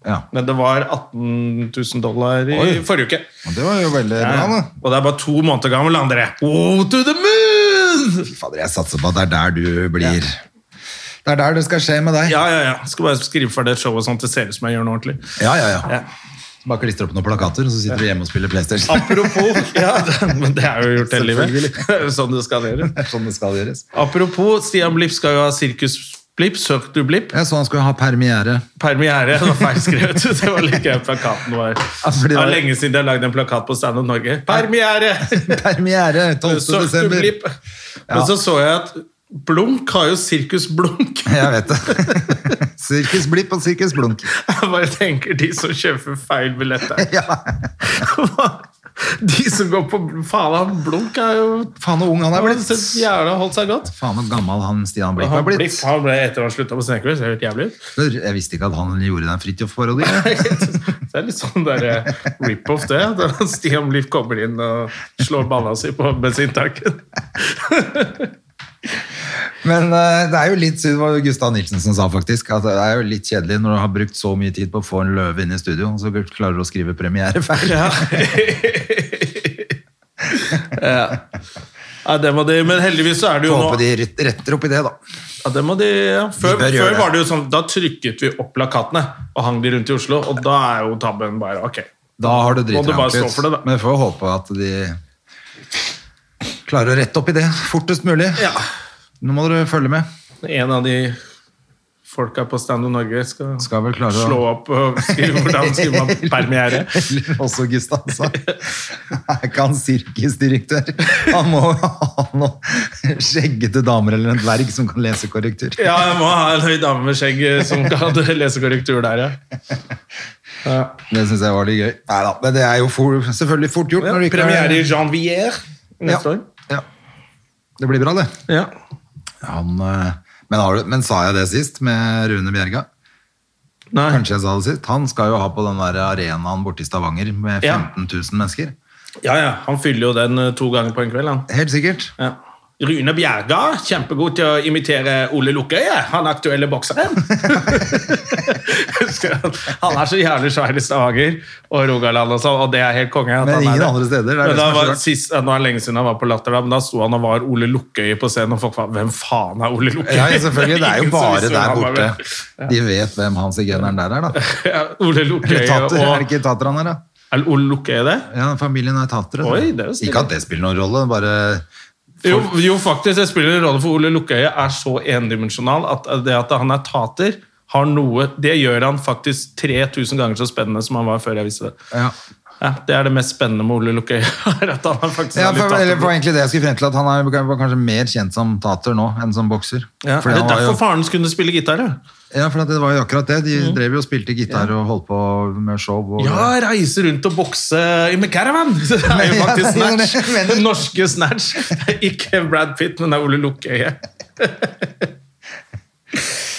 [SPEAKER 2] Ja.
[SPEAKER 1] Men det var 18 000 dollar i
[SPEAKER 2] Oi.
[SPEAKER 1] forrige uke.
[SPEAKER 2] Og det var jo veldig
[SPEAKER 1] Ja,
[SPEAKER 2] bra, da.
[SPEAKER 1] Og det er bare to måneder gammel, andre. Oh, to the moon!
[SPEAKER 2] Fy fader, jeg satser på at det er der du blir Det er der det skal skje med deg.
[SPEAKER 1] Ja, ja, ja. Skal bare skrive ferdig et show og sånt. Det ser ut som jeg gjør noe ordentlig.
[SPEAKER 2] ja, ja. ja.
[SPEAKER 1] Ja.
[SPEAKER 2] Bare klistre opp noen plakater, og så sitter du hjemme og spiller PlayStation.
[SPEAKER 1] Apropos *laughs* ja, det- Men det er jo gjort hele livet. *laughs* Sånn det skal gjøre.
[SPEAKER 2] *laughs* Det er sånn det skal gjøres.
[SPEAKER 1] Apropos, Stian Blipp skal jo ha sirkusblipp. Søk du blipp?
[SPEAKER 2] Jeg så han skulle ha premiere. Altså,
[SPEAKER 1] Permiere. Det var feilskrevet. *laughs* Det var like gøy plakaten var.
[SPEAKER 2] fordi
[SPEAKER 1] Det
[SPEAKER 2] det
[SPEAKER 1] var
[SPEAKER 2] var-
[SPEAKER 1] lenge siden jeg lagde en plakat på Stand Up Norge.
[SPEAKER 2] *laughs*
[SPEAKER 1] Permiere!
[SPEAKER 2] Premiere 12.
[SPEAKER 1] Søk du
[SPEAKER 2] desember.
[SPEAKER 1] blipp? Men så så jeg at Blunk har jo Sirkus Blunk. *laughs*
[SPEAKER 2] Jeg vet det. *laughs* Sirkus Blipp og Sirkus Blunk.
[SPEAKER 1] Jeg bare tenker de som kjøper feil
[SPEAKER 2] *laughs*
[SPEAKER 1] billetter.
[SPEAKER 2] Ja.
[SPEAKER 1] *laughs* De som går på Faen, han Blunk er jo
[SPEAKER 2] Faen og ung han er
[SPEAKER 1] Han har
[SPEAKER 2] blitt.
[SPEAKER 1] sett jævla holdt seg godt.
[SPEAKER 2] Faen og gammel han Stian Blipp
[SPEAKER 1] Han
[SPEAKER 2] har
[SPEAKER 1] ble,
[SPEAKER 2] blitt.
[SPEAKER 1] han ble etter han slutta på Scenekurs, helt
[SPEAKER 2] *laughs*
[SPEAKER 1] jævlig ut.
[SPEAKER 2] Jeg visste ikke at han gjorde den Fridtjof-parodien.
[SPEAKER 1] Det er litt sånn der eh, rip-off, det. *laughs* Der Stian Blipp kommer inn og slår balla si på bensintanken.
[SPEAKER 2] Men eh, det er jo litt, det var jo Gustav Nilsen som sa faktisk, at det er jo litt kjedelig når du har brukt så mye tid på å få en løve inn i studio, og så klarer du å skrive premiere feil.
[SPEAKER 1] Ja. ja. Ja, det må de, men heldigvis så er det *laughs* jo nå
[SPEAKER 2] Håper de rett- retter opp i det, da.
[SPEAKER 1] ja, det må de, ja. Før,
[SPEAKER 2] De bør gjøre
[SPEAKER 1] før
[SPEAKER 2] det.
[SPEAKER 1] var det jo sånn, da trykket vi opp plakatene og hang de rundt i Oslo, og da er jo tabben bare ok.
[SPEAKER 2] Da har du
[SPEAKER 1] Må du bare
[SPEAKER 2] dritrangt
[SPEAKER 1] stå for det, da.
[SPEAKER 2] ut. Men vi får håpe at de klarer å rette opp i det fortest mulig.
[SPEAKER 1] Ja.
[SPEAKER 2] Nå må dere følge med.
[SPEAKER 1] En av de folka på Stand Up Norge skal,
[SPEAKER 2] Skal vel klare å-
[SPEAKER 1] slå opp og skrive hvordan
[SPEAKER 2] *laughs*
[SPEAKER 1] skriver man permiere.
[SPEAKER 2] Eller Også Gustav, sa. Er ikke han sirkusdirektør? Han må ha noen skjeggete damer eller en dverg som kan lese korrektur.
[SPEAKER 1] Ja, jeg må ha en høy dame med skjegg eh, som kan lese korrektur der, ja. ja.
[SPEAKER 2] Det syns jeg var litt gøy. Neida, men det er jo for, selvfølgelig fort gjort. når du ikke har-
[SPEAKER 1] Premiere i Janvier neste år.
[SPEAKER 2] Ja. Det blir bra, det.
[SPEAKER 1] Ja.
[SPEAKER 2] Han, eh, men, har du, men sa jeg det sist med Rune Bjerga?
[SPEAKER 1] Nei.
[SPEAKER 2] Kanskje jeg sa det sist? Han skal jo ha på den der arenaen borte i Stavanger med
[SPEAKER 1] Ja.
[SPEAKER 2] 15 000 mennesker.
[SPEAKER 1] ja, ja. Han fyller jo den eh, to ganger på en kveld, han.
[SPEAKER 2] Helt sikkert.
[SPEAKER 1] Ja. Rune Bjerga, kjempegod til å imitere Ole Lukkøye, han aktuelle bokseren. *laughs* Husker du han? han er så jævlig svær i Stavanger og Rogaland og sånn, og det er helt konge. at
[SPEAKER 2] Men
[SPEAKER 1] han er
[SPEAKER 2] ingen
[SPEAKER 1] det.
[SPEAKER 2] andre steder, det er det
[SPEAKER 1] Men
[SPEAKER 2] som
[SPEAKER 1] da
[SPEAKER 2] er så
[SPEAKER 1] var,
[SPEAKER 2] rart.
[SPEAKER 1] sist, ja, nå er det lenge siden han var på Latter, da, men da sto han og var Ole Lukkøye på scenen, og folk var Hvem faen er Ole Lukkøye?
[SPEAKER 2] Ja, selvfølgelig.
[SPEAKER 1] *laughs*
[SPEAKER 2] Det er jo
[SPEAKER 1] ingen som
[SPEAKER 2] bare
[SPEAKER 1] visste hvem
[SPEAKER 2] der
[SPEAKER 1] han var,
[SPEAKER 2] borte.
[SPEAKER 1] men-
[SPEAKER 2] De vet hvem han sigøyneren der er, da.
[SPEAKER 1] *laughs* Ja, Ole Lukkøye
[SPEAKER 2] Tater,
[SPEAKER 1] og
[SPEAKER 2] er det ikke tater han er, da?
[SPEAKER 1] Er Ole Lukkøye det?
[SPEAKER 2] Ja, familien er tatere. da.
[SPEAKER 1] Oi, det er jo stilig.
[SPEAKER 2] ikke at det spiller noen rolle, bare
[SPEAKER 1] Jo, jo, faktisk. Det spiller en rolle, for Ole Lukkøye er så endimensjonal at det at han er tater, har noe Det gjør han faktisk 3000 ganger så spennende som han var før jeg visste det.
[SPEAKER 2] ja.
[SPEAKER 1] Ja, det er det mest spennende med Ole Lukkøye. *laughs* er at han er faktisk
[SPEAKER 2] Ja,
[SPEAKER 1] er litt
[SPEAKER 2] for,
[SPEAKER 1] tater.
[SPEAKER 2] eller, for egentlig det jeg skulle frem til at Han er var kanskje mer kjent som tater nå enn som bokser.
[SPEAKER 1] ja,
[SPEAKER 2] Fordi
[SPEAKER 1] er det
[SPEAKER 2] han var
[SPEAKER 1] derfor
[SPEAKER 2] jo,
[SPEAKER 1] faren hans kunne spille gitar? ja?
[SPEAKER 2] ja, for at det var jo akkurat det. De drev jo og spilte gitar og holdt på med show. Og,
[SPEAKER 1] Ja, reise rundt og bokse i med caravan! *laughs* Det er jo
[SPEAKER 2] Ja, det
[SPEAKER 1] faktisk
[SPEAKER 2] er det
[SPEAKER 1] Snatch.
[SPEAKER 2] jeg mener.
[SPEAKER 1] Den *laughs* norske Snatch. Det er Ikke Brad Pitt, men det er Ole Lukkøye.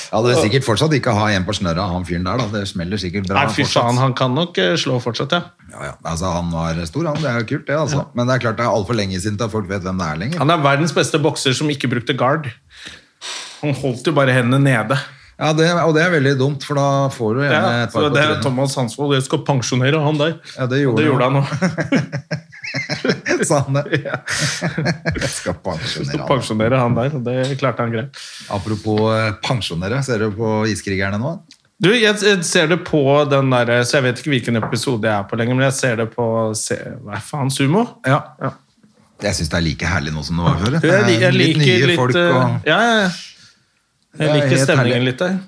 [SPEAKER 2] Jeg hadde sikkert fortsatt ikke ha en på snørra, han fyren der. da Det smeller sikkert bra.
[SPEAKER 1] Nei, fy
[SPEAKER 2] fortsatt.
[SPEAKER 1] faen, han kan nok eh, slå fortsatt, ja.
[SPEAKER 2] Ja, ja. Altså, han var stor, han. Det er jo kult, det. altså Men det er klart det er altfor lenge siden til at folk vet hvem det er lenger.
[SPEAKER 1] Han er verdens beste bokser som ikke brukte guard. Han holdt jo bare hendene nede.
[SPEAKER 2] Ja, det, Og det er veldig dumt, for da får du gjerne
[SPEAKER 1] Ja,
[SPEAKER 2] et
[SPEAKER 1] så
[SPEAKER 2] par på
[SPEAKER 1] det er
[SPEAKER 2] trynet.
[SPEAKER 1] Thomas Hansvold. Jeg skal pensjonere han der.
[SPEAKER 2] Ja, det gjorde
[SPEAKER 1] Og det
[SPEAKER 2] han. *laughs*
[SPEAKER 1] gjorde han òg.
[SPEAKER 2] Sa han
[SPEAKER 1] *laughs*
[SPEAKER 2] det? Jeg skal pensjonere han.
[SPEAKER 1] Pensjonere han der, og det klarte han greit.
[SPEAKER 2] Apropos eh, pensjonere, ser du på Iskrigerne nå?
[SPEAKER 1] Du, jeg, jeg ser det på den der, så jeg vet ikke hvilken episode jeg er på lenger, men jeg ser det på se, Hva faen,
[SPEAKER 2] *laughs*
[SPEAKER 1] Sumo?
[SPEAKER 2] Ja.
[SPEAKER 1] Ja.
[SPEAKER 2] Jeg syns det er like herlig nå som det var før.
[SPEAKER 1] Du, jeg, li- jeg liker litt,
[SPEAKER 2] nye folk
[SPEAKER 1] eh,
[SPEAKER 2] og
[SPEAKER 1] Ja, ja, ja. Jeg
[SPEAKER 2] Det er
[SPEAKER 1] liker
[SPEAKER 2] helt
[SPEAKER 1] stemningen
[SPEAKER 2] herlig.
[SPEAKER 1] litt der.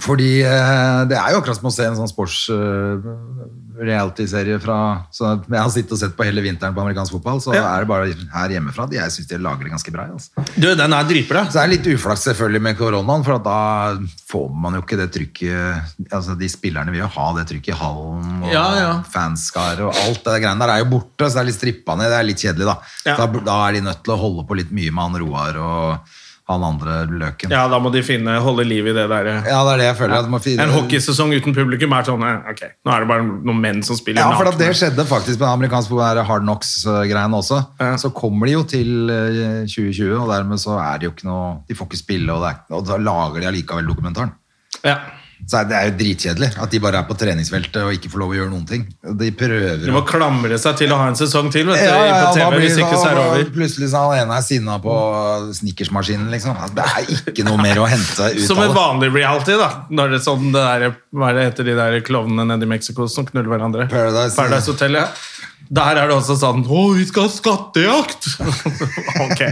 [SPEAKER 2] Fordi eh, det er jo akkurat som å se en sånn sports eh, realityserie fra så jeg har sittet og sett på hele vinteren på amerikansk fotball, så
[SPEAKER 1] Ja.
[SPEAKER 2] er det bare her hjemmefra. de- Jeg syns de lager det ganske bra. Altså.
[SPEAKER 1] Du, den er dritbra.
[SPEAKER 2] Så det er litt uflaks selvfølgelig med koronaen, for at da får man jo ikke det trykket altså De spillerne vil jo ha det trykket i hallen, og
[SPEAKER 1] Ja, ja.
[SPEAKER 2] fanskare og alt det greiene der er jo borte, så det er litt strippa ned. Det er litt kjedelig, da.
[SPEAKER 1] Ja.
[SPEAKER 2] da. Da er de nødt til å holde på litt mye med han Roar og han andre Løken.
[SPEAKER 1] Ja, da må de finne, holde liv i det derre
[SPEAKER 2] Ja, det er det jeg føler. at man finner-
[SPEAKER 1] En hockeysesong uten publikum er sånn eh, Ok, nå er det bare noen menn som spiller
[SPEAKER 2] Ja, for at
[SPEAKER 1] nakne.
[SPEAKER 2] det skjedde faktisk med amerikansk populær hard knocks-greiene også.
[SPEAKER 1] Ja.
[SPEAKER 2] Så kommer de jo til eh, 2020, og dermed så er det jo ikke noe De får ikke spille, og, det er, og da lager de allikevel dokumentaren.
[SPEAKER 1] Ja.
[SPEAKER 2] Så er- det er jo dritkjedelig at de bare er på treningsfeltet og ikke får lov å gjøre noen ting. De prøver
[SPEAKER 1] De må klamre seg til å ha en sesong til vet du,
[SPEAKER 2] Ja, ja, ja,
[SPEAKER 1] på
[SPEAKER 2] da
[SPEAKER 1] TV
[SPEAKER 2] blir-
[SPEAKER 1] hvis ikke så er det
[SPEAKER 2] da-
[SPEAKER 1] over.
[SPEAKER 2] Plutselig så er han ene er sinna på snickersmaskinen, liksom. Altså, Det er ikke noe mer å hente ut
[SPEAKER 1] Som en
[SPEAKER 2] av det.
[SPEAKER 1] vanlig reality, da. Når det er sånn det der, hva er det heter de der klovnene nede i Mexico som knuller hverandre?
[SPEAKER 2] Paradise.
[SPEAKER 1] Hotel, ja. Der er det også sånn Å, vi skal ha skattejakt! *laughs* ok.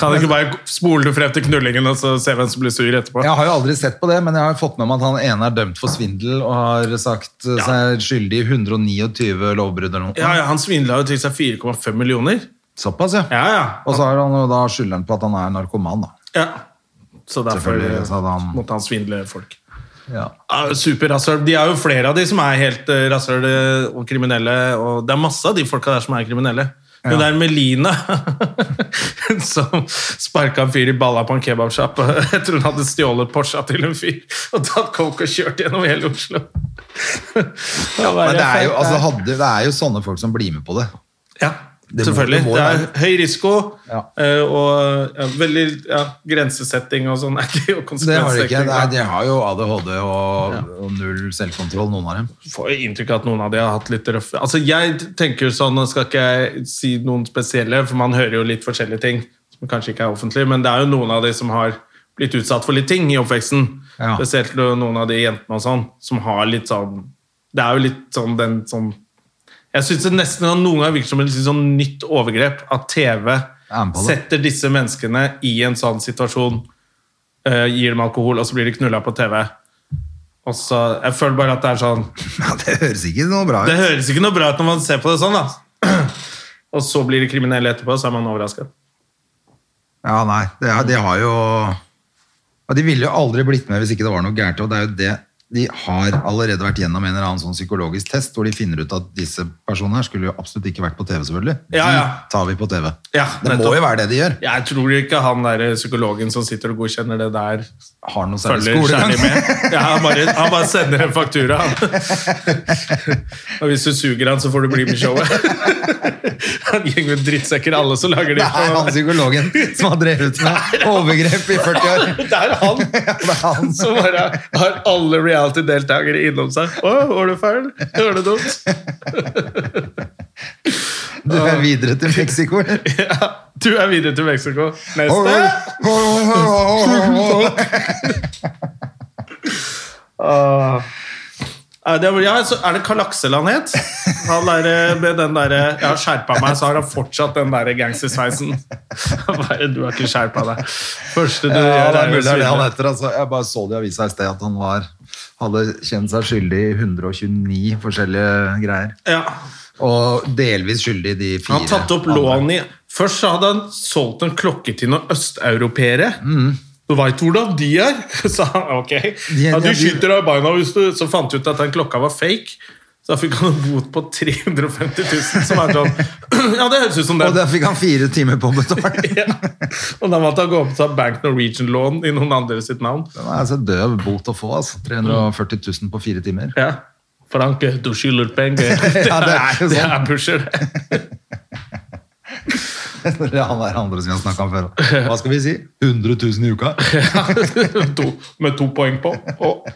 [SPEAKER 1] Kan du ikke bare spole frem til knullingen og så se hvem som blir sur etterpå?
[SPEAKER 2] Jeg har jo aldri sett på det, men jeg har fått med meg at han ene er dømt for svindel og har sagt eh, seg skyldig i 129 lovbrudd eller noe.
[SPEAKER 1] Ja, ja, Han svindla jo til seg 4,5 millioner.
[SPEAKER 2] Såpass, ja.
[SPEAKER 1] Ja, ja.
[SPEAKER 2] Og så har han jo da skylder han på at han er narkoman, da.
[SPEAKER 1] ja. Så derfor eh,
[SPEAKER 2] Selvfølgelig, så hadde han-
[SPEAKER 1] måtte han svindle folk.
[SPEAKER 2] Ja.
[SPEAKER 1] Ja, Superrasshøl. De er jo flere av de som er helt eh, rasshøl eh, og kriminelle. Og det er masse av de folka der som er kriminelle. Hun der Melina *laughs* som sparka en fyr i balla på en kebabsjapp *laughs* etter hun hadde stjålet Porscha til en fyr og tatt coke og kjørt gjennom hele Oslo.
[SPEAKER 2] Men det er, jo, altså, hadde, det er jo sånne folk som blir med på det.
[SPEAKER 1] Ja,
[SPEAKER 2] Det må-
[SPEAKER 1] selvfølgelig.
[SPEAKER 2] det må
[SPEAKER 1] Det er
[SPEAKER 2] være-
[SPEAKER 1] høy risiko
[SPEAKER 2] Ja.
[SPEAKER 1] eh, og ja, veldig ja, grensesetting og sånn. er ikke-
[SPEAKER 2] Det har de
[SPEAKER 1] Og
[SPEAKER 2] ikke.
[SPEAKER 1] konsekvenssetting.
[SPEAKER 2] Det er, de har jo ADHD og, og null selvkontroll, noen av dem.
[SPEAKER 1] får jo inntrykk av at noen av de har hatt litt røffe Altså, jeg tenker jo sånn, nå skal ikke jeg si noen spesielle, for man hører jo litt forskjellige ting som kanskje ikke er offentlig, men det er jo noen av de som har blitt utsatt for litt ting i oppveksten.
[SPEAKER 2] Ja.
[SPEAKER 1] Spesielt noen av de jentene og sånn, som har litt sånn Det er jo litt sånn den som Jeg syns det nesten noen ganger virker som et litt sånn nytt overgrep at TV
[SPEAKER 2] er med på det.
[SPEAKER 1] setter disse menneskene i en sånn situasjon, eh, gir dem alkohol, og så blir de knulla på TV. Og så, Jeg føler bare at det er sånn
[SPEAKER 2] Ja, det høres ikke noe bra ut.
[SPEAKER 1] det høres ikke noe bra ut når man ser på det sånn, da. *clears throat* Og så blir de kriminelle etterpå, så er man overrasket.
[SPEAKER 2] Ja, nei, det er, de har jo Og de ville jo aldri blitt med hvis ikke det var noe gærent. Og det er jo det de har allerede vært gjennom en eller annen sånn psykologisk test, hvor de finner ut at disse personene her skulle jo absolutt ikke vært på TV, selvfølgelig.
[SPEAKER 1] Ja, ja.
[SPEAKER 2] De tar vi på TV.
[SPEAKER 1] Ja,
[SPEAKER 2] det
[SPEAKER 1] nettopp.
[SPEAKER 2] må jo være det de gjør.
[SPEAKER 1] Jeg tror ikke han der eh, psykologen som sitter og godkjenner det der,
[SPEAKER 2] Har noe særlig
[SPEAKER 1] følger
[SPEAKER 2] skolegang.
[SPEAKER 1] særlig med.
[SPEAKER 2] *laughs*
[SPEAKER 1] Ja, han, bare, han bare sender en faktura, han. Og hvis du suger han, så får du bli
[SPEAKER 2] *laughs*
[SPEAKER 1] med i showet. Han gjenger med drittsekker, alle som lager
[SPEAKER 2] Det
[SPEAKER 1] de
[SPEAKER 2] er han psykologen som har drevet med overgrep i 40 år. *laughs*
[SPEAKER 1] *laughs* Det er han
[SPEAKER 2] Ja, det er han.
[SPEAKER 1] *laughs* som bare har alle reality-deltakere innom seg. Å, var du feil? Var det dumt? *laughs*
[SPEAKER 2] Du er videre til Mexico.
[SPEAKER 1] Ja, du er videre til Mexico. Neste!
[SPEAKER 2] Nei,
[SPEAKER 1] Ja, Ah. Eh, det var- Ja, så er det Kalakseland het? Han der eh, med den derre Jeg har skjerpa meg, så har han fortsatt den derre gangstersveisen. *laughs* Bare, Du har ikke skjerpa deg. Første du
[SPEAKER 2] Ja,
[SPEAKER 1] gjør,
[SPEAKER 2] det er mulig det er det han
[SPEAKER 1] svindle.
[SPEAKER 2] heter. Altså. Jeg bare så det i avisa i sted at han var, hadde kjent seg skyldig i 129 forskjellige greier.
[SPEAKER 1] Ja.
[SPEAKER 2] Og delvis skyldig i de fire.
[SPEAKER 1] Han har tatt opp
[SPEAKER 2] andre.
[SPEAKER 1] lån i Først så hadde han solgt en klokke til noen østeuropeere. Du veit hvordan de er! *laughs* sa han. Ok. Ja,
[SPEAKER 2] Mm. de-
[SPEAKER 1] du skyter deg i beina hvis du Så fant de ut at den klokka var fake. Så da fikk han en bot på 350 000, som er sånn *clears throat* Ja, det høres ut som det.
[SPEAKER 2] Og der fikk han fire timer på å betale. *laughs*
[SPEAKER 1] ja. Og da måtte han gå opp og ta Bank Norwegian-lån i noen andre sitt navn.
[SPEAKER 2] Den er altså døv bot å få, altså. 340 000 på fire timer. *laughs*
[SPEAKER 1] Ja. Frank, du skylder penger.
[SPEAKER 2] Ja, det er jo
[SPEAKER 1] Det
[SPEAKER 2] sånn.
[SPEAKER 1] er pusher.
[SPEAKER 2] Det er han der andre som vi har snakket om før. Hva skal vi si? 100 000 i uka?
[SPEAKER 1] *laughs* to, med to poeng på. Og,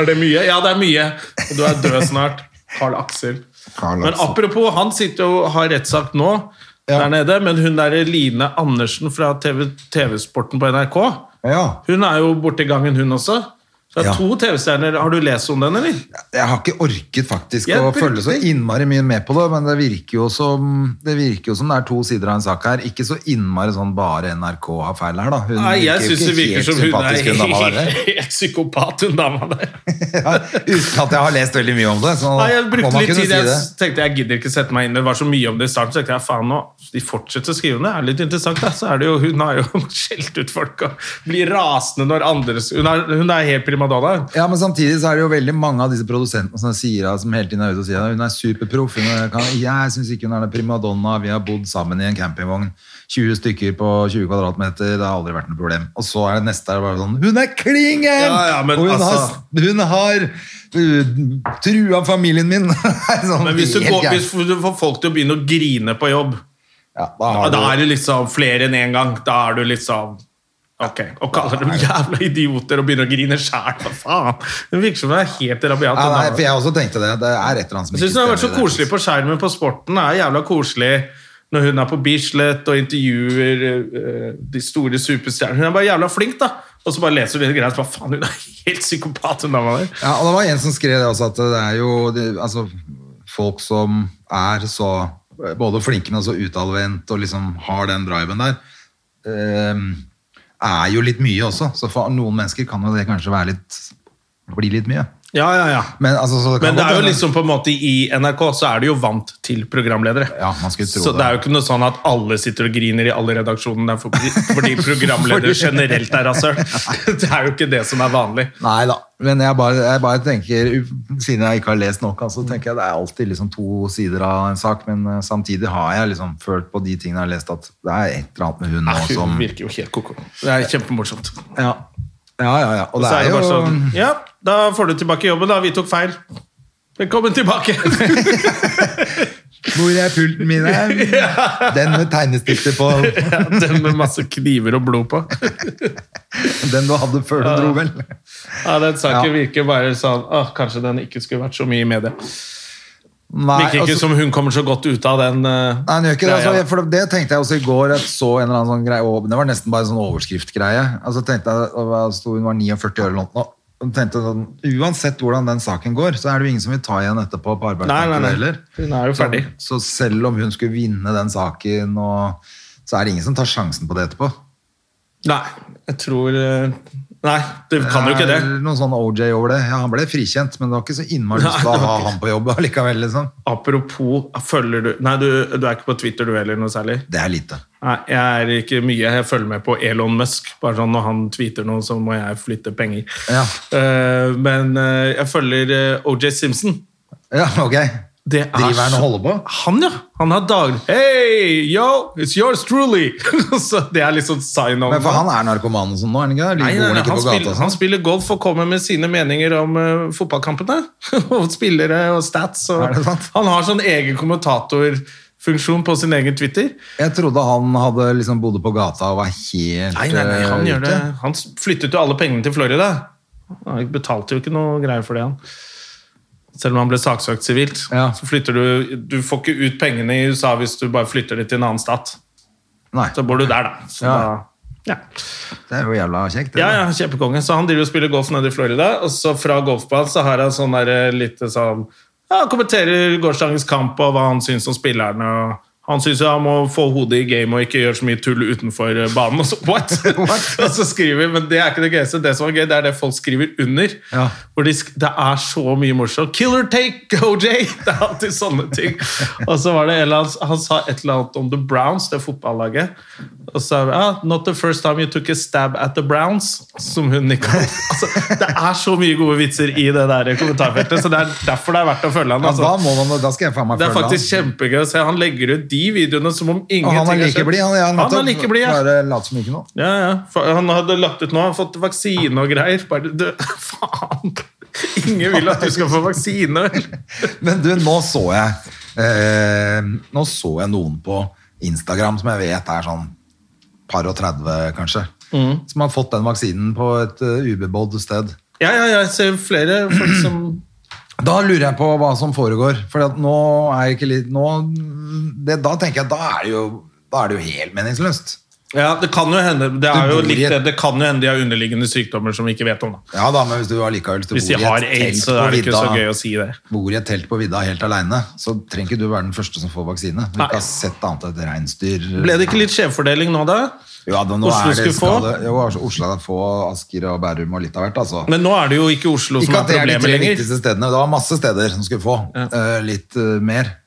[SPEAKER 1] er det mye? Ja, det er mye. Og du er død snart. Carl Axel.
[SPEAKER 2] Carl
[SPEAKER 1] Men
[SPEAKER 2] Axel.
[SPEAKER 1] apropos, han sitter jo og har rettssak nå
[SPEAKER 2] Ja.
[SPEAKER 1] der nede, men hun der Line Andersen fra TV TV-sporten på NRK,
[SPEAKER 2] Ja.
[SPEAKER 1] hun er jo borte i gangen, hun også. Det er
[SPEAKER 2] Ja.
[SPEAKER 1] to TV-stjerner. Har du lest om den, eller?
[SPEAKER 2] Jeg har ikke orket faktisk
[SPEAKER 1] Jeg
[SPEAKER 2] å
[SPEAKER 1] brukte-
[SPEAKER 2] følge så innmari mye med på det, men det virker, jo som, det virker jo som det er to sider av en sak her. Ikke så innmari sånn bare NRK har feil her, da. Hun
[SPEAKER 1] Nei, jeg
[SPEAKER 2] jo
[SPEAKER 1] syns det virker
[SPEAKER 2] helt
[SPEAKER 1] som hun er
[SPEAKER 2] sympatisk, hun
[SPEAKER 1] *laughs*
[SPEAKER 2] dama der.
[SPEAKER 1] helt psykopat, hun dama der.
[SPEAKER 2] Ja, Uten at jeg har lest veldig mye om det. Så
[SPEAKER 1] Nei, jeg
[SPEAKER 2] må
[SPEAKER 1] brukte
[SPEAKER 2] man
[SPEAKER 1] litt
[SPEAKER 2] kunne
[SPEAKER 1] tid.
[SPEAKER 2] si
[SPEAKER 1] Jeg
[SPEAKER 2] det.
[SPEAKER 1] s- tenkte jeg gidder ikke sette meg inn i det. Det var så mye om det i starten. Så tenkte jeg faen nå, de fortsetter å skrive om det. Det er litt interessant, da. Så er det jo, hun har jo *laughs* skjelt ut folk og blir rasende når andre s- Hun er, hun er helt primadonna. hun.
[SPEAKER 2] Ja, men samtidig så er det jo veldig mange av disse produsentene som sier at- som hele tiden er ute og sier at hun er superproff. Hun er, kan, jeg syns ikke hun er en primadonna. Vi har bodd sammen i en campingvogn. 20 stykker på 20 kvadratmeter. Det har aldri vært noe problem. Og så er det neste er det bare sånn Hun er klingen!
[SPEAKER 1] Ja, ja, men
[SPEAKER 2] og hun
[SPEAKER 1] altså-
[SPEAKER 2] har, hun har uh, trua familien min! *laughs* Det er sånn
[SPEAKER 1] Men hvis du,
[SPEAKER 2] helt
[SPEAKER 1] går,
[SPEAKER 2] gærent.
[SPEAKER 1] hvis du får folk til å begynne å grine på jobb,
[SPEAKER 2] ja, da
[SPEAKER 1] ja,
[SPEAKER 2] har
[SPEAKER 1] da
[SPEAKER 2] du,
[SPEAKER 1] er det liksom flere enn én gang. Da er du liksom Ok. Og kaller dem jævla idioter og begynner å grine sjæl. Hva faen? Hun virker som hun er helt rabiat.
[SPEAKER 2] ja,
[SPEAKER 1] hun
[SPEAKER 2] nei,
[SPEAKER 1] dama.
[SPEAKER 2] for jeg også tenkte det. Det er et eller annet som
[SPEAKER 1] Jeg syns hun har vært så koselig på skjermen på Sporten. Det er jævla koselig når hun er på Bislett og intervjuer eh, de store superstjernene. Hun er bare jævla flink, da. Og så bare leser du det greia, så bare faen, hun er *laughs* helt psykopat, hun dama der.
[SPEAKER 2] Ja, og det var en som skrev det også, at det er jo det, altså, folk som er så både flinke, men også utadvendt og liksom har den driven der, ehm, er jo litt mye også. Så for noen mennesker kan jo det kanskje være litt, bli litt mye.
[SPEAKER 1] Ja, ja, ja.
[SPEAKER 2] Men, altså, så kan
[SPEAKER 1] Men det
[SPEAKER 2] godt
[SPEAKER 1] er jo
[SPEAKER 2] hende-
[SPEAKER 1] liksom på en måte i NRK så er du jo vant til programledere.
[SPEAKER 2] Ja, man skulle tro
[SPEAKER 1] så
[SPEAKER 2] det.
[SPEAKER 1] det er jo ikke noe sånn at alle sitter og griner i alle redaksjonene fordi, fordi *laughs* programledere generelt er *laughs* rasshøl. Det er jo ikke det som er vanlig.
[SPEAKER 2] Nei da, men jeg bare, jeg bare tenker, u- siden jeg ikke har lest nok, altså, tenker jeg det er alltid liksom to sider av en sak, men eh, samtidig har jeg liksom følt på de tingene jeg har lest, at det er et eller annet med hun nå
[SPEAKER 1] Hun
[SPEAKER 2] som...
[SPEAKER 1] virker jo helt koko. Det er kjempemorsomt.
[SPEAKER 2] Ja, ja, ja. ja. Og det
[SPEAKER 1] Så
[SPEAKER 2] er jo...
[SPEAKER 1] bare sånn, ja, da får du tilbake jobben, da. Vi tok feil. Velkommen tilbake!
[SPEAKER 2] *laughs* *laughs* Hvor er pulten
[SPEAKER 1] *laughs*
[SPEAKER 2] min? her? Den med tegnestifter på.
[SPEAKER 1] Ja, Den med masse kniver og blod på.
[SPEAKER 2] Den du hadde før du dro, vel?
[SPEAKER 1] Ja, Den saken
[SPEAKER 2] Ja.
[SPEAKER 1] virker bare sånn åh, Kanskje den ikke skulle vært så mye i media.
[SPEAKER 2] Nei,
[SPEAKER 1] Virker ikke
[SPEAKER 2] altså-
[SPEAKER 1] som hun kommer så godt ut av den. eh,
[SPEAKER 2] Nei, den gjør ikke det. Altså,
[SPEAKER 1] greia.
[SPEAKER 2] jeg- for det, det tenkte jeg også i går. Jeg så en eller annen sånn greie, og det var nesten bare en sånn overskriftgreie. Altså, tenkte jeg, og hva sto- Hun var 49 år eller noe. nå. Og tenkte sånn, Uansett hvordan den saken går, så er det jo ingen som vil ta igjen etterpå på
[SPEAKER 1] Nei, nei,
[SPEAKER 2] arbeidsmarkedet
[SPEAKER 1] nei.
[SPEAKER 2] heller.
[SPEAKER 1] Hun er jo ferdig.
[SPEAKER 2] Så, så selv om hun skulle vinne den saken, og, så er det ingen som tar sjansen på det etterpå.
[SPEAKER 1] Nei, jeg tror eh, Nei, du kan jo ikke det.
[SPEAKER 2] er Noen sånn OJ over det. Ja, han ble frikjent, men det var ikke så innmari lyst til å ha han på jobb allikevel, liksom.
[SPEAKER 1] Apropos, følger du Nei, du, du er ikke på Twitter du heller, noe særlig?
[SPEAKER 2] Det er lite.
[SPEAKER 1] Nei, jeg er ikke mye. Jeg følger med på Elon Musk. Bare sånn når han tweeter noe, så må jeg flytte penger.
[SPEAKER 2] Ja.
[SPEAKER 1] Eh, men eh, jeg følger eh, OJ Simpson.
[SPEAKER 2] Ja, ok.
[SPEAKER 1] Det er
[SPEAKER 2] Driver han og
[SPEAKER 1] så-
[SPEAKER 2] holder på?
[SPEAKER 1] Han, ja. Han har dag... Hey, yo, it's yours truly! *laughs* så det er litt sånn sign on.
[SPEAKER 2] Men for han er narkoman og sånn nå, er han ikke det?
[SPEAKER 1] Nei,
[SPEAKER 2] Ligger
[SPEAKER 1] nei, nei,
[SPEAKER 2] ikke på
[SPEAKER 1] han,
[SPEAKER 2] gata og
[SPEAKER 1] spiller, han
[SPEAKER 2] sånn?
[SPEAKER 1] spiller golf og kommer med sine meninger om eh, fotballkampene. *laughs* og spillere og stats. Og,
[SPEAKER 2] Er det sant?
[SPEAKER 1] han har sånn egen kommentatorfunksjon på sin egen Twitter.
[SPEAKER 2] Jeg trodde han hadde liksom bodde på gata og var helt
[SPEAKER 1] Nei, nei, nei, han,
[SPEAKER 2] eh,
[SPEAKER 1] gjør
[SPEAKER 2] ute.
[SPEAKER 1] det. han s- flyttet jo alle pengene til Florida. Han betalte jo ikke noe greier for det, han. Selv om han ble saksøkt sivilt.
[SPEAKER 2] Ja.
[SPEAKER 1] Så flytter du Du får ikke ut pengene i USA hvis du bare flytter det til en annen stat.
[SPEAKER 2] Nei,
[SPEAKER 1] Så bor du der, da. Så
[SPEAKER 2] Ja.
[SPEAKER 1] da ja.
[SPEAKER 2] det er jo jævla kjekt. det,
[SPEAKER 1] Ja,
[SPEAKER 2] da.
[SPEAKER 1] ja, kjempekonge. Så han driver og spiller golf nede i Florida, og så fra golfbanen så har han sånn der eh, lite sånn ja, han Kommenterer gårsdagens kamp og hva han syns om spillerne. og han syns han må få hodet i game og ikke gjøre så mye tull utenfor eh, banen. Og så, *laughs* what? og så skriver Men det er ikke det gøyeste. Det som er gøy, det er det folk skriver under.
[SPEAKER 2] Ja.
[SPEAKER 1] Hvor de, sk- det er så mye morsomt. 'Killer take, OJ!' *laughs* Det er alltid sånne ting. Og så var det en eller annen, Han sa et eller annet om The Browns, det fotballaget. Og så er det, ah, 'Not the first time you took a stab at the Browns', som hun nikka. *laughs* Altså, det er så mye gode vitser i det der kommentarfeltet, så det er derfor det er verdt å følge han.
[SPEAKER 2] Ja,
[SPEAKER 1] Altså.
[SPEAKER 2] da, må man, da skal jeg faen meg
[SPEAKER 1] Det er
[SPEAKER 2] følge
[SPEAKER 1] faktisk kjempegøy å se. Han legger ut de videoene som om
[SPEAKER 2] Og
[SPEAKER 1] ingenting
[SPEAKER 2] han er like
[SPEAKER 1] skjedd.
[SPEAKER 2] blid. Han, ja,
[SPEAKER 1] altså. Han er
[SPEAKER 2] nettopp.
[SPEAKER 1] like blid, ja.
[SPEAKER 2] Bare lat som ikke noe.
[SPEAKER 1] Ja, ja. For han hadde lagt ut nå, han har fått vaksine og greier. Bare, du, *laughs* faen! Ingen vil at du skal få vaksine. vel?
[SPEAKER 2] Men du, nå så jeg eh, Nå så jeg noen på Instagram som jeg vet er sånn par og 30, kanskje.
[SPEAKER 1] Mm.
[SPEAKER 2] Som har fått den vaksinen på et eh, ubebodd sted.
[SPEAKER 1] Ja, ja, jeg ser flere folk som
[SPEAKER 2] Da lurer jeg på hva som foregår. For at nå er jeg ikke litt nå, det, Da tenker jeg da er det jo, da er det jo helt meningsløst.
[SPEAKER 1] Ja, det kan jo hende det
[SPEAKER 2] Du
[SPEAKER 1] er jo
[SPEAKER 2] bor i
[SPEAKER 1] litt,
[SPEAKER 2] et-
[SPEAKER 1] det. Det kan jo hende de har underliggende sykdommer som vi ikke vet om. da.
[SPEAKER 2] Ja da, men hvis du allikevel hvis du
[SPEAKER 1] Hvis de
[SPEAKER 2] bor i
[SPEAKER 1] har
[SPEAKER 2] et telt
[SPEAKER 1] aids, så
[SPEAKER 2] på
[SPEAKER 1] er det ikke så
[SPEAKER 2] vidda-
[SPEAKER 1] gøy å si det.
[SPEAKER 2] bor i et telt på vidda helt alene, så trenger ikke du være den første som får vaksine. Du
[SPEAKER 1] Nei.
[SPEAKER 2] ikke har sett annet enn et reinsdyr.
[SPEAKER 1] Ble det ikke litt skjevfordeling nå, da?
[SPEAKER 2] Ja, da, nå
[SPEAKER 1] Oslo
[SPEAKER 2] er det,
[SPEAKER 1] skulle få?
[SPEAKER 2] skal det- Jo, altså, Oslo skal få Asker og Bærum og litt av hvert, altså.
[SPEAKER 1] Men nå er det jo ikke Oslo som
[SPEAKER 2] ikke at
[SPEAKER 1] er
[SPEAKER 2] det er de
[SPEAKER 1] problemet
[SPEAKER 2] tre
[SPEAKER 1] lenger.
[SPEAKER 2] viktigste stedene. Det var masse steder som skulle få eh, litt eh, mer.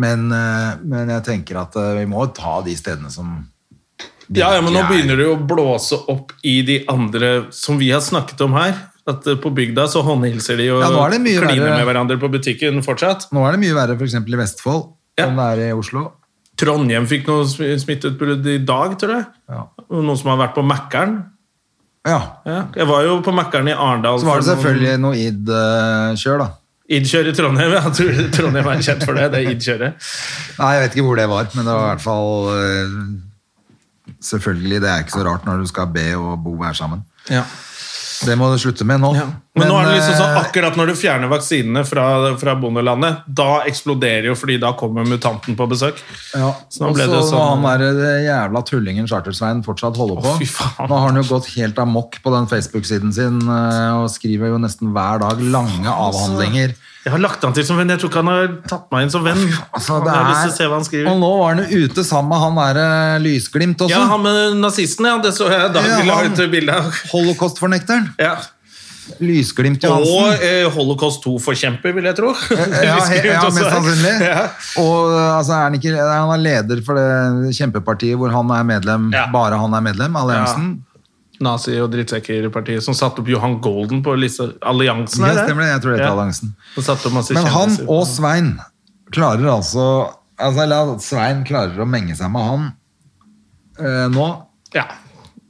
[SPEAKER 2] Men, eh, men jeg tenker at eh, vi må ta de stedene som
[SPEAKER 1] Ja, ja, men nå begynner det jo å blåse opp i de andre som vi har snakket om her. At eh, på bygda så håndhilser de og
[SPEAKER 2] Ja, nå er det mye
[SPEAKER 1] kliner
[SPEAKER 2] verre.
[SPEAKER 1] med hverandre på butikken fortsatt.
[SPEAKER 2] Nå er det mye verre f.eks. i Vestfold
[SPEAKER 1] Ja.
[SPEAKER 2] enn det er i Oslo.
[SPEAKER 1] Trondheim fikk noe sm- smitteutbrudd i dag, tror jeg.
[SPEAKER 2] Ja.
[SPEAKER 1] Og Noen som har vært på Mækkern.
[SPEAKER 2] ja.
[SPEAKER 1] Ja, jeg var jo på Mækkern i Arendal.
[SPEAKER 2] Så var det
[SPEAKER 1] for noen-
[SPEAKER 2] selvfølgelig noe id-kjør, da.
[SPEAKER 1] Id-kjør i Trondheim. *laughs* Jeg tror Trondheim er kjent for det. det er id-kjøret.
[SPEAKER 2] Nei, jeg vet ikke hvor det var, men det var i hvert fall eh, Selvfølgelig, det er ikke så rart når du skal be og bo her sammen. Det må du slutte med nå.
[SPEAKER 1] Men, nå er det liksom sånn
[SPEAKER 2] eh,
[SPEAKER 1] akkurat når du fjerner vaksinene fra, fra bondelandet, da eksploderer jo fordi da kommer mutanten på besøk.
[SPEAKER 2] Ja,
[SPEAKER 1] Så nå
[SPEAKER 2] og
[SPEAKER 1] ble
[SPEAKER 2] så
[SPEAKER 1] det
[SPEAKER 2] må
[SPEAKER 1] sånn-
[SPEAKER 2] han der eh, jævla tullingen Chartersveien fortsatt holde
[SPEAKER 1] Å,
[SPEAKER 2] på.
[SPEAKER 1] fy faen.
[SPEAKER 2] Nå har han jo gått helt amok på den Facebook-siden sin eh, og skriver jo nesten hver dag lange
[SPEAKER 1] Altså,
[SPEAKER 2] avhandlinger.
[SPEAKER 1] Jeg har lagt han til som venn. Jeg tror ikke han har tatt meg inn som venn.
[SPEAKER 2] Altså,
[SPEAKER 1] Faen,
[SPEAKER 2] det
[SPEAKER 1] jeg har lyst
[SPEAKER 2] er,
[SPEAKER 1] til å se hva han skriver.
[SPEAKER 2] og nå var han jo ute sammen med han der eh, Lysglimt også.
[SPEAKER 1] Ja, han med nazisten, ja. Det så jeg da
[SPEAKER 2] Ja,
[SPEAKER 1] vi la
[SPEAKER 2] han-
[SPEAKER 1] ut bilde av.
[SPEAKER 2] Holocaustfornekteren.
[SPEAKER 1] Ja.
[SPEAKER 2] Lysglimt Johansen.
[SPEAKER 1] Og eh, Holocaust 2-forkjemper, vil jeg tro. *laughs*
[SPEAKER 2] Ja, he- ja, mest sannsynlig.
[SPEAKER 1] Ja.
[SPEAKER 2] Og eh, altså, er han, ikke, han er leder for det kjempepartiet hvor han er medlem,
[SPEAKER 1] Ja.
[SPEAKER 2] bare han er medlem, alliansen.
[SPEAKER 1] Nazi- og drittsekkerpartiet som satte opp Johan Golden på lista. Alliansen,
[SPEAKER 2] Ja, stemmer det. Jeg tror det er
[SPEAKER 1] Sånn Ja.
[SPEAKER 2] alliansen.
[SPEAKER 1] Som satte opp masse
[SPEAKER 2] Men han
[SPEAKER 1] kjendiser.
[SPEAKER 2] og Svein klarer altså Altså, la Svein klarer å menge seg med han eh, nå.
[SPEAKER 1] Ja.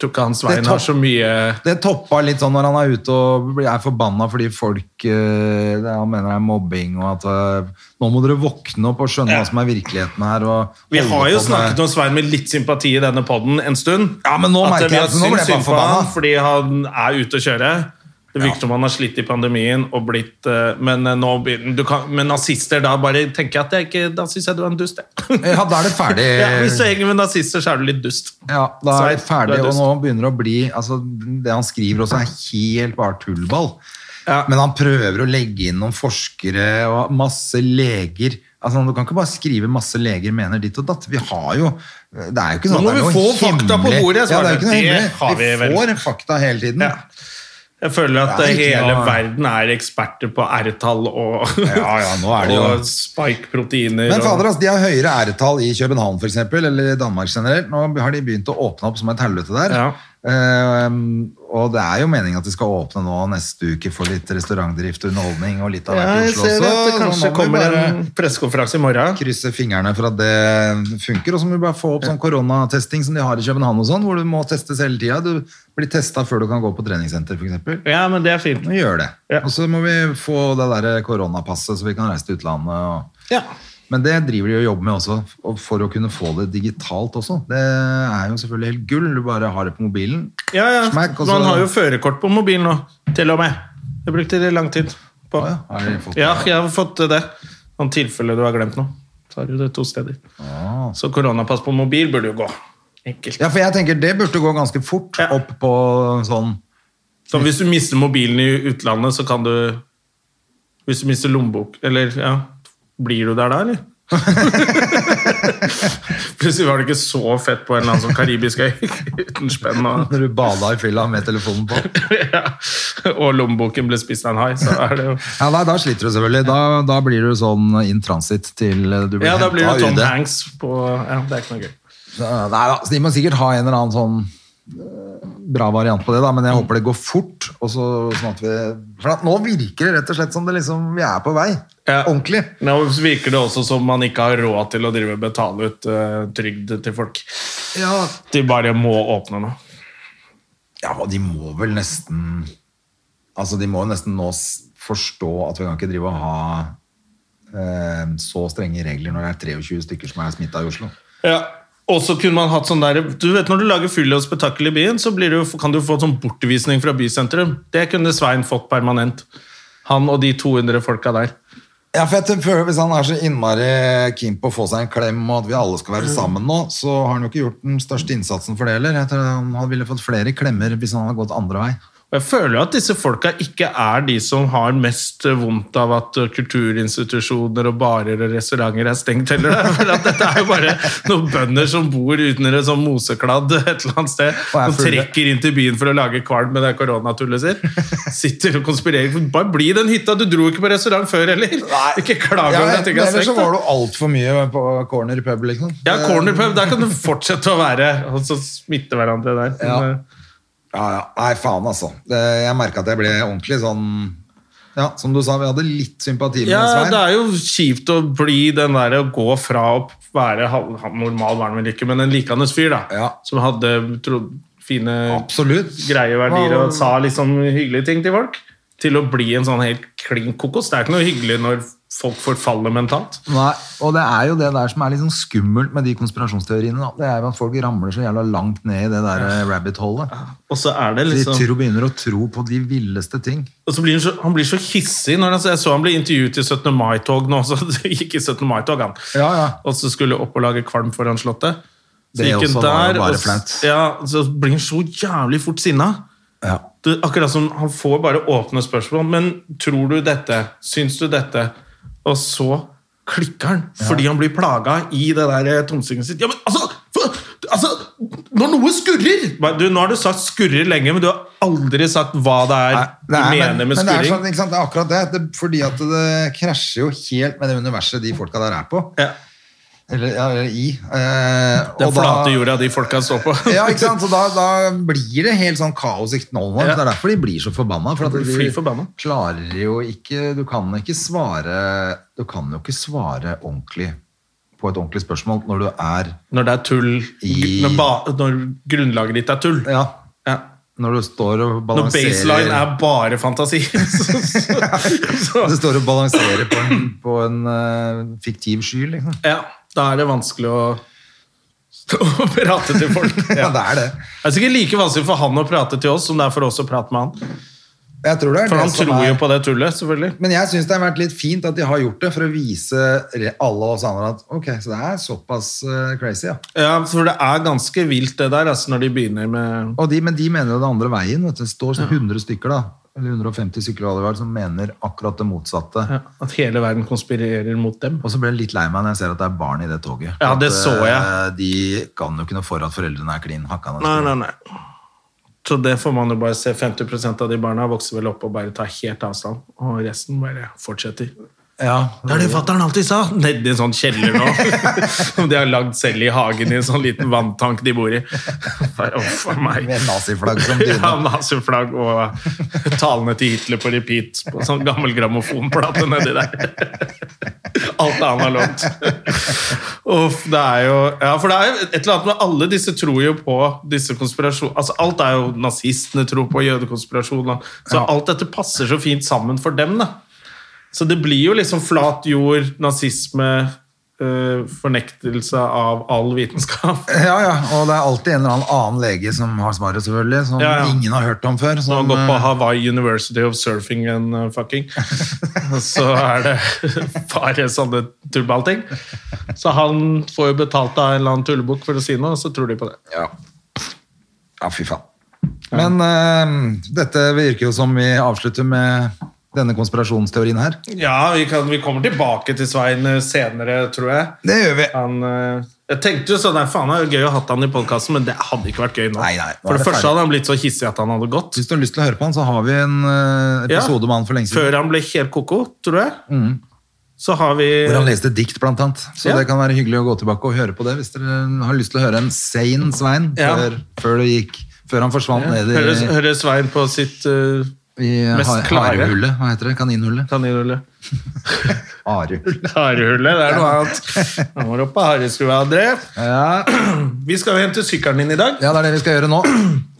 [SPEAKER 1] Tror ikke han
[SPEAKER 2] Det
[SPEAKER 1] Svein
[SPEAKER 2] tar-
[SPEAKER 1] har så mye
[SPEAKER 2] Det toppa litt sånn når han er ute og blir- er forbanna fordi folk eh, det- Han mener det er mobbing og at eh, Nå må dere våkne opp og skjønne
[SPEAKER 1] Ja.
[SPEAKER 2] hva som er virkeligheten her. Og
[SPEAKER 1] Vi
[SPEAKER 2] holde
[SPEAKER 1] har jo
[SPEAKER 2] på med-
[SPEAKER 1] snakket om Svein med litt sympati i denne podden en stund. eh,
[SPEAKER 2] Ja, men nå merker
[SPEAKER 1] vi har
[SPEAKER 2] jeg at nå ble jeg bare
[SPEAKER 1] syntes synd på han
[SPEAKER 2] forbanna.
[SPEAKER 1] Fordi han er ute å kjøre. Det virker som han har slitt i pandemien og blitt eh, Men, eh, nå, begynner- du kan, men nazister, da bare tenker jeg at jeg ikke Da syns jeg du er en dust, jeg.
[SPEAKER 2] Ja, da er det ferdig.
[SPEAKER 1] Ja, hvis du henger med nazister, så er du litt dust.
[SPEAKER 2] Ja, da er det
[SPEAKER 1] Svein,
[SPEAKER 2] ferdig,
[SPEAKER 1] du er
[SPEAKER 2] og
[SPEAKER 1] dust.
[SPEAKER 2] nå begynner det å bli altså, Det han skriver også, er helt bare tullball.
[SPEAKER 1] Ja.
[SPEAKER 2] Men han prøver å legge inn noen forskere og masse leger. Altså, Du kan ikke bare skrive 'masse leger mener ditt og datt'. Vi har jo Det er jo ikke
[SPEAKER 1] Nå
[SPEAKER 2] sånn at det
[SPEAKER 1] må
[SPEAKER 2] er
[SPEAKER 1] vi
[SPEAKER 2] noe
[SPEAKER 1] få fakta på
[SPEAKER 2] hemmelig-
[SPEAKER 1] bordet,
[SPEAKER 2] Ja, det er jo
[SPEAKER 1] Svarte.
[SPEAKER 2] ikke noe
[SPEAKER 1] Det
[SPEAKER 2] hemmelig.
[SPEAKER 1] har vi
[SPEAKER 2] vi
[SPEAKER 1] vel.
[SPEAKER 2] får fakta hele tiden.
[SPEAKER 1] Ja. Jeg føler at
[SPEAKER 2] Det er
[SPEAKER 1] eh,
[SPEAKER 2] ikke
[SPEAKER 1] hele
[SPEAKER 2] noe-
[SPEAKER 1] verden er eksperter på R-tall og,
[SPEAKER 2] Ja, ja, nå er det jo-
[SPEAKER 1] *laughs* og spike-proteiner.
[SPEAKER 2] Men
[SPEAKER 1] og-
[SPEAKER 2] fader, altså, de har høyere æretall i København for eksempel, eller i Danmark generelt. Nå har de begynt å åpne opp som et helvete der.
[SPEAKER 1] Ja.
[SPEAKER 2] Ehm, og det er jo meningen at de skal åpne nå neste uke for litt restaurantdrift og underholdning og litt av
[SPEAKER 1] ja,
[SPEAKER 2] hvert i
[SPEAKER 1] jeg
[SPEAKER 2] Oslo
[SPEAKER 1] ser at det
[SPEAKER 2] også. Så
[SPEAKER 1] kanskje
[SPEAKER 2] nå må vi
[SPEAKER 1] kommer
[SPEAKER 2] bare
[SPEAKER 1] en pressekonferanse i morgen.
[SPEAKER 2] krysse fingrene for at det funker, og så må vi bare få opp sånn koronatesting som de har i København og sånn, hvor du må testes hele tida. Du blir testa før du kan gå på treningssenter, for eksempel.
[SPEAKER 1] Ja, men det er fint.
[SPEAKER 2] Nå gjør det.
[SPEAKER 1] Ja.
[SPEAKER 2] Og så må vi få det der koronapasset, så vi kan reise til utlandet og
[SPEAKER 1] Ja.
[SPEAKER 2] men det driver de og jobber med også, og for å kunne få det digitalt også. Det er jo selvfølgelig helt gull, du bare har det på mobilen.
[SPEAKER 1] Ja, ja.
[SPEAKER 2] Smack, og så-
[SPEAKER 1] Man har jo førerkort på mobilen nå, til og med. Jeg brukte det lang tid på.
[SPEAKER 2] Å ja, har de fått det?
[SPEAKER 1] Ja, jeg har fått det. Sånn tilfelle du har glemt noe. Så har du det to steder. Så koronapass på mobil burde jo gå. Enkelt.
[SPEAKER 2] Ja, for jeg tenker det burde gå ganske fort
[SPEAKER 1] Ja.
[SPEAKER 2] opp på sånn
[SPEAKER 1] Så hvis du mister mobilen i utlandet, så kan du Hvis du mister lommebok Eller ja, blir du der da, eller? *laughs* Plutselig var det ikke så fett på en eller annen sånn karibisk øy uten spenn. Og...
[SPEAKER 2] når du bada i fylla med telefonen på.
[SPEAKER 1] *laughs* ja. Og lommeboken ble spist av en hai, så er det jo
[SPEAKER 2] Ja, nei, Da sliter du selvfølgelig. Da, da blir du sånn in transit til du blir
[SPEAKER 1] Ja, da blir sånn
[SPEAKER 2] hentet av UD.
[SPEAKER 1] det Tom Hanks på Ja, det er ikke noe gøy.
[SPEAKER 2] Ja, Nei, da, så de må sikkert ha en eller annen sånn eh, bra variant på det, da, men
[SPEAKER 1] Mm.
[SPEAKER 2] jeg håper det går fort. Og så, sånn at vi, for at nå virker det rett og slett som det liksom, vi er på vei.
[SPEAKER 1] Ja.
[SPEAKER 2] Ordentlig.
[SPEAKER 1] Nå virker det også som man ikke har råd til å drive og betale ut eh, trygd til folk.
[SPEAKER 2] Ja,
[SPEAKER 1] De bare må åpne nå.
[SPEAKER 2] Ja, og de må vel nesten Altså, de må jo nesten nå s- forstå at vi kan ikke drive og ha eh, så strenge regler når det er 23 stykker som er smitta i Oslo.
[SPEAKER 1] Ja. Og så kunne man hatt sånn der Du vet Når du lager fyll og spetakkel i byen, så blir det jo, kan du få sånn bortvisning fra bysentrum. Det kunne Svein fått permanent. Han og de 200 folka der.
[SPEAKER 2] Ja, for jeg tenker- føler Hvis han er så innmari keen på å få seg en klem, og at vi alle skal være sammen nå, så har han jo ikke gjort den største innsatsen for det heller. Jeg tror han han ville fått flere klemmer hvis han hadde gått andre vei.
[SPEAKER 1] Og Jeg føler jo at disse folka ikke er de som har mest eh, vondt av at eh, kulturinstitusjoner og barer og restauranter er stengt heller. da. For at dette er jo bare noen bønder som bor uten en sånn mosekladd et eller annet sted.
[SPEAKER 2] Og er
[SPEAKER 1] Som
[SPEAKER 2] fulle.
[SPEAKER 1] trekker inn til byen for å lage kvalm med det koronatullet sitt. Sitter og konspirerer. Bare bli den hytta! Du dro ikke på restaurant før heller! Ikke klag
[SPEAKER 2] Ja,
[SPEAKER 1] over at ting er
[SPEAKER 2] ellers så
[SPEAKER 1] stengt.
[SPEAKER 2] var
[SPEAKER 1] da.
[SPEAKER 2] det jo altfor mye på corner pub, liksom.
[SPEAKER 1] Ja, corner pub, der kan du fortsette å være og så smitte hverandre der. Men,
[SPEAKER 2] Ja.
[SPEAKER 1] eh,
[SPEAKER 2] Ja, ja. Nei, faen, altså. Det, jeg merka at jeg ble ordentlig sånn Ja, som du sa, vi hadde litt sympati med
[SPEAKER 1] Ja,
[SPEAKER 2] Svein.
[SPEAKER 1] det er jo kjipt å bli den der å gå fra å være hal- hal- normal barn med lykke, men en likende fyr da,
[SPEAKER 2] Ja.
[SPEAKER 1] som hadde tro, fine
[SPEAKER 2] Absolutt.
[SPEAKER 1] greie verdier og sa liksom hyggelige ting til folk, til å bli en sånn helt klin kokos. Det er ikke noe hyggelig når folk forfaller mentalt.
[SPEAKER 2] Nei, og det er jo det der som er litt sånn skummelt med de konspirasjonsteoriene. Da. Det er jo at folk ramler så jævla langt ned i det der eh, rabbit holet.
[SPEAKER 1] Og så er det
[SPEAKER 2] De
[SPEAKER 1] liksom...
[SPEAKER 2] tror, begynner å tro på de villeste ting.
[SPEAKER 1] Og så blir han, så, han blir så hissig når han, Jeg så han ble intervjuet i 17. mai-tog nå, *laughs* så det gikk i 17. mai-tog han.
[SPEAKER 2] Ja, ja.
[SPEAKER 1] Og så skulle opp og lage kvalm foran slottet. Så
[SPEAKER 2] Det
[SPEAKER 1] gikk han
[SPEAKER 2] også var jo
[SPEAKER 1] der,
[SPEAKER 2] bare
[SPEAKER 1] og s-
[SPEAKER 2] flaut.
[SPEAKER 1] Ja, så blir han så jævlig fort sinna.
[SPEAKER 2] Ja.
[SPEAKER 1] Det, akkurat som han får bare åpne spørsmål. Men tror du dette? Syns du dette? Og så klikker han, fordi han blir plaga i det der tomsinget sitt. Ja, men altså, for, altså Når noe skurrer Bare, du, Nå har du sagt 'skurrer' lenge, men du har aldri sagt hva det er
[SPEAKER 2] Nei,
[SPEAKER 1] du
[SPEAKER 2] nei,
[SPEAKER 1] mener
[SPEAKER 2] men,
[SPEAKER 1] med
[SPEAKER 2] men det er
[SPEAKER 1] skurring.
[SPEAKER 2] sånn, ikke sant? Det er akkurat det, det. Fordi at det krasjer jo helt med det universet de folka der er på.
[SPEAKER 1] Ja.
[SPEAKER 2] Eller, ja, eller i. Eh,
[SPEAKER 1] Den
[SPEAKER 2] og da-
[SPEAKER 1] flate jorda de folka står på. *laughs*
[SPEAKER 2] Ja, ikke sant? Så da, da blir det helt sånn kaos i knollene.
[SPEAKER 1] Ja.
[SPEAKER 2] Det er derfor de blir så forbanna. For at
[SPEAKER 1] De
[SPEAKER 2] de,
[SPEAKER 1] blir fly forbanna.
[SPEAKER 2] klarer jo ikke Du kan ikke svare Du kan jo ikke svare ordentlig på et ordentlig spørsmål når du er
[SPEAKER 1] Når det er tull
[SPEAKER 2] I-
[SPEAKER 1] når, ba, når grunnlaget ditt er tull.
[SPEAKER 2] Ja,
[SPEAKER 1] Ja.
[SPEAKER 2] når du står og
[SPEAKER 1] Når baseline
[SPEAKER 2] balanserer
[SPEAKER 1] er bare fantasi. *laughs* Så, så,
[SPEAKER 2] Du
[SPEAKER 1] så,
[SPEAKER 2] står og balanserer på en, på en eh, fiktiv sky, liksom.
[SPEAKER 1] ja, da er det vanskelig å å *laughs* prate til folk.
[SPEAKER 2] *laughs* Ja,
[SPEAKER 1] Ja.
[SPEAKER 2] det er det.
[SPEAKER 1] Det er sikkert like vanskelig for han å prate til oss som det er for oss å prate med han.
[SPEAKER 2] Jeg tror det er
[SPEAKER 1] For
[SPEAKER 2] det
[SPEAKER 1] han
[SPEAKER 2] som
[SPEAKER 1] tror
[SPEAKER 2] er-
[SPEAKER 1] jo på det tullet, selvfølgelig.
[SPEAKER 2] Men jeg syns det har vært litt fint at de har gjort det, for å vise re- alle oss andre at ok, så det er såpass eh, crazy, ja.
[SPEAKER 1] Ja, For det er ganske vilt, det der, altså, når de begynner med
[SPEAKER 2] Og de, men de mener jo det andre veien. Vet du. Det står 100 stykker, da. Eller 150 stykker hva det var, som mener akkurat det motsatte.
[SPEAKER 1] ja, at hele verden konspirerer mot dem.
[SPEAKER 2] Og så ble jeg litt lei meg når jeg ser at det er barn i det toget.
[SPEAKER 1] Ja, det
[SPEAKER 2] At,
[SPEAKER 1] så jeg.
[SPEAKER 2] eh, De kan jo ikke noe for at foreldrene er klin hakka.
[SPEAKER 1] Nei, nei, nei. Så det får man jo bare se. 50 av de barna vokser vel opp og bare tar helt avstand. Og resten bare fortsetter.
[SPEAKER 2] Ja.
[SPEAKER 1] Det er det fatter'n alltid sa! Nedi en sånn kjeller nå. *laughs* Som de har lagd selv i hagen i en sånn liten vanntank de bor i. *laughs* Bare, Å, for meg.
[SPEAKER 2] Med naziflagg
[SPEAKER 1] *laughs*
[SPEAKER 2] som dyne.
[SPEAKER 1] Ja, naziflagg og talene til Hitler på repeat på sånn gammel grammofonplate nedi der. *laughs* Alt er analogt. Uff, det er jo Ja, for det er jo et eller annet med alle disse tror jo på disse konspirasjoner Altså, alt er jo nazistene tror på, jødekonspirasjoner Så alt dette passer så fint sammen for dem, da. Så det blir jo liksom flat jord, nazisme, eh, fornektelse av all vitenskap.
[SPEAKER 2] Ja, ja, og det er alltid en eller annen annen lege som har svaret, selvfølgelig. Som
[SPEAKER 1] Ja, ja.
[SPEAKER 2] ingen har hørt om før.
[SPEAKER 1] Nå har
[SPEAKER 2] Som,
[SPEAKER 1] han gått på
[SPEAKER 2] eh,
[SPEAKER 1] Hawaii University of Surfing and uh, *laughs* Fucking. Og så er det *laughs* bare sånne tullballting. Så han får jo betalt av en eller annen tullebukk for å si noe, og så tror de på det.
[SPEAKER 2] Ja. ja, fy faen. Men eh, dette virker jo som vi avslutter med denne konspirasjonsteorien her.
[SPEAKER 1] Ja, vi, kan, vi kommer tilbake til Svein eh, senere, tror jeg.
[SPEAKER 2] Det gjør vi.
[SPEAKER 1] Han, eh, jeg tenkte jo sånn der, faen, det er jo gøy å ha hatt han i podkasten, men det hadde ikke vært gøy nå.
[SPEAKER 2] Nei, nei, nå er
[SPEAKER 1] for det,
[SPEAKER 2] det
[SPEAKER 1] første
[SPEAKER 2] ferdig.
[SPEAKER 1] hadde han blitt så hissig at han hadde gått.
[SPEAKER 2] Hvis du har lyst til å høre på han, så har vi en eh, episode med han for lenge siden.
[SPEAKER 1] Før han ble helt koko, tror jeg.
[SPEAKER 2] Mm.
[SPEAKER 1] Så har vi
[SPEAKER 2] Hvor han leste dikt, blant annet. Så
[SPEAKER 1] Ja.
[SPEAKER 2] det kan være hyggelig å gå tilbake og høre på det hvis dere har lyst til å høre en sane Svein
[SPEAKER 1] Ja.
[SPEAKER 2] før, før det gikk Før han forsvant ned
[SPEAKER 1] Hører,
[SPEAKER 2] i,
[SPEAKER 1] hører Svein på sitt uh,
[SPEAKER 2] i
[SPEAKER 1] mest
[SPEAKER 2] ha-
[SPEAKER 1] klare.
[SPEAKER 2] harehullet. Hva heter det? Kaninhullet?
[SPEAKER 1] kaninhullet.
[SPEAKER 2] Harehull.
[SPEAKER 1] Harehullet, det er noe annet. Han var oppe på hareskua, André.
[SPEAKER 2] Ja.
[SPEAKER 1] Vi skal jo hente sykkelen din i dag.
[SPEAKER 2] ja, det er det vi skal gjøre nå.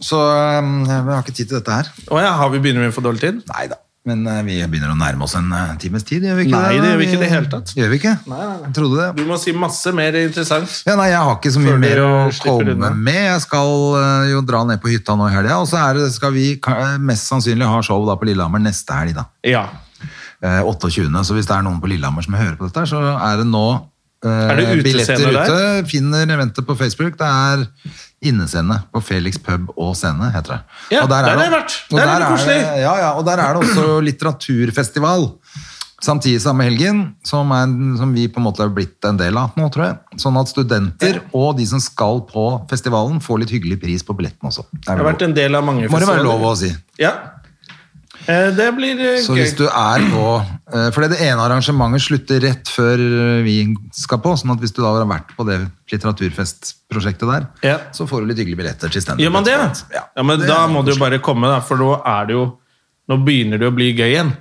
[SPEAKER 2] Så eh, vi har ikke tid til dette her.
[SPEAKER 1] Å ja, har vi begynner med for dårlig tid?
[SPEAKER 2] Nei da. Men eh, vi begynner å nærme oss en eh, times tid, gjør vi ikke
[SPEAKER 1] Nei, det gjør vi ikke i det hele tatt.
[SPEAKER 2] Gjør vi ikke?
[SPEAKER 1] nei, nei.
[SPEAKER 2] Jeg trodde det.
[SPEAKER 1] Du må si masse mer interessant.
[SPEAKER 2] Ja, nei, Jeg har ikke så mye
[SPEAKER 1] Før
[SPEAKER 2] mer
[SPEAKER 1] dere
[SPEAKER 2] å
[SPEAKER 1] slipper
[SPEAKER 2] komme
[SPEAKER 1] unna.
[SPEAKER 2] med. Jeg skal eh, jo dra ned på hytta nå i helga, og så er det, skal vi ka- mest sannsynlig ha show da på Lillehammer neste helg. da.
[SPEAKER 1] Ja.
[SPEAKER 2] eh, 28. Så hvis det er noen på Lillehammer som hører på dette, her, så er det nå eh,
[SPEAKER 1] Er det utescener
[SPEAKER 2] billetter
[SPEAKER 1] der?
[SPEAKER 2] ute. Finner eventet på Facebook. Det er innescene på Felix pub og scene, heter det.
[SPEAKER 1] Ja, der har
[SPEAKER 2] det-
[SPEAKER 1] jeg vært.
[SPEAKER 2] og
[SPEAKER 1] Der er det
[SPEAKER 2] er det,
[SPEAKER 1] koselig.
[SPEAKER 2] ja, ja, og der er det også
[SPEAKER 1] *clears throat*
[SPEAKER 2] litteraturfestival. Samtidig samme helgen, som, er, som vi på en måte er blitt en del av nå, tror jeg. Sånn at studenter og de som skal på festivalen, får litt hyggelig pris på billetten også. Det er
[SPEAKER 1] Jeg har
[SPEAKER 2] vel
[SPEAKER 1] vært en del av mange
[SPEAKER 2] lov. Må det være lov å si.
[SPEAKER 1] Ja. Eh, Det blir eh,
[SPEAKER 2] Så
[SPEAKER 1] gøy.
[SPEAKER 2] hvis du er på eh, For det ene arrangementet slutter rett før eh, vi skal på, sånn at hvis du da har vært på det litteraturfestprosjektet der,
[SPEAKER 1] Ja.
[SPEAKER 2] så får du litt hyggelige billetter til standup.
[SPEAKER 1] Gjør man det?
[SPEAKER 2] Ja.
[SPEAKER 1] Ja, men
[SPEAKER 2] Det
[SPEAKER 1] da
[SPEAKER 2] er
[SPEAKER 1] må du jo bare komme, da, for nå er det jo Nå begynner det å bli gøy igjen.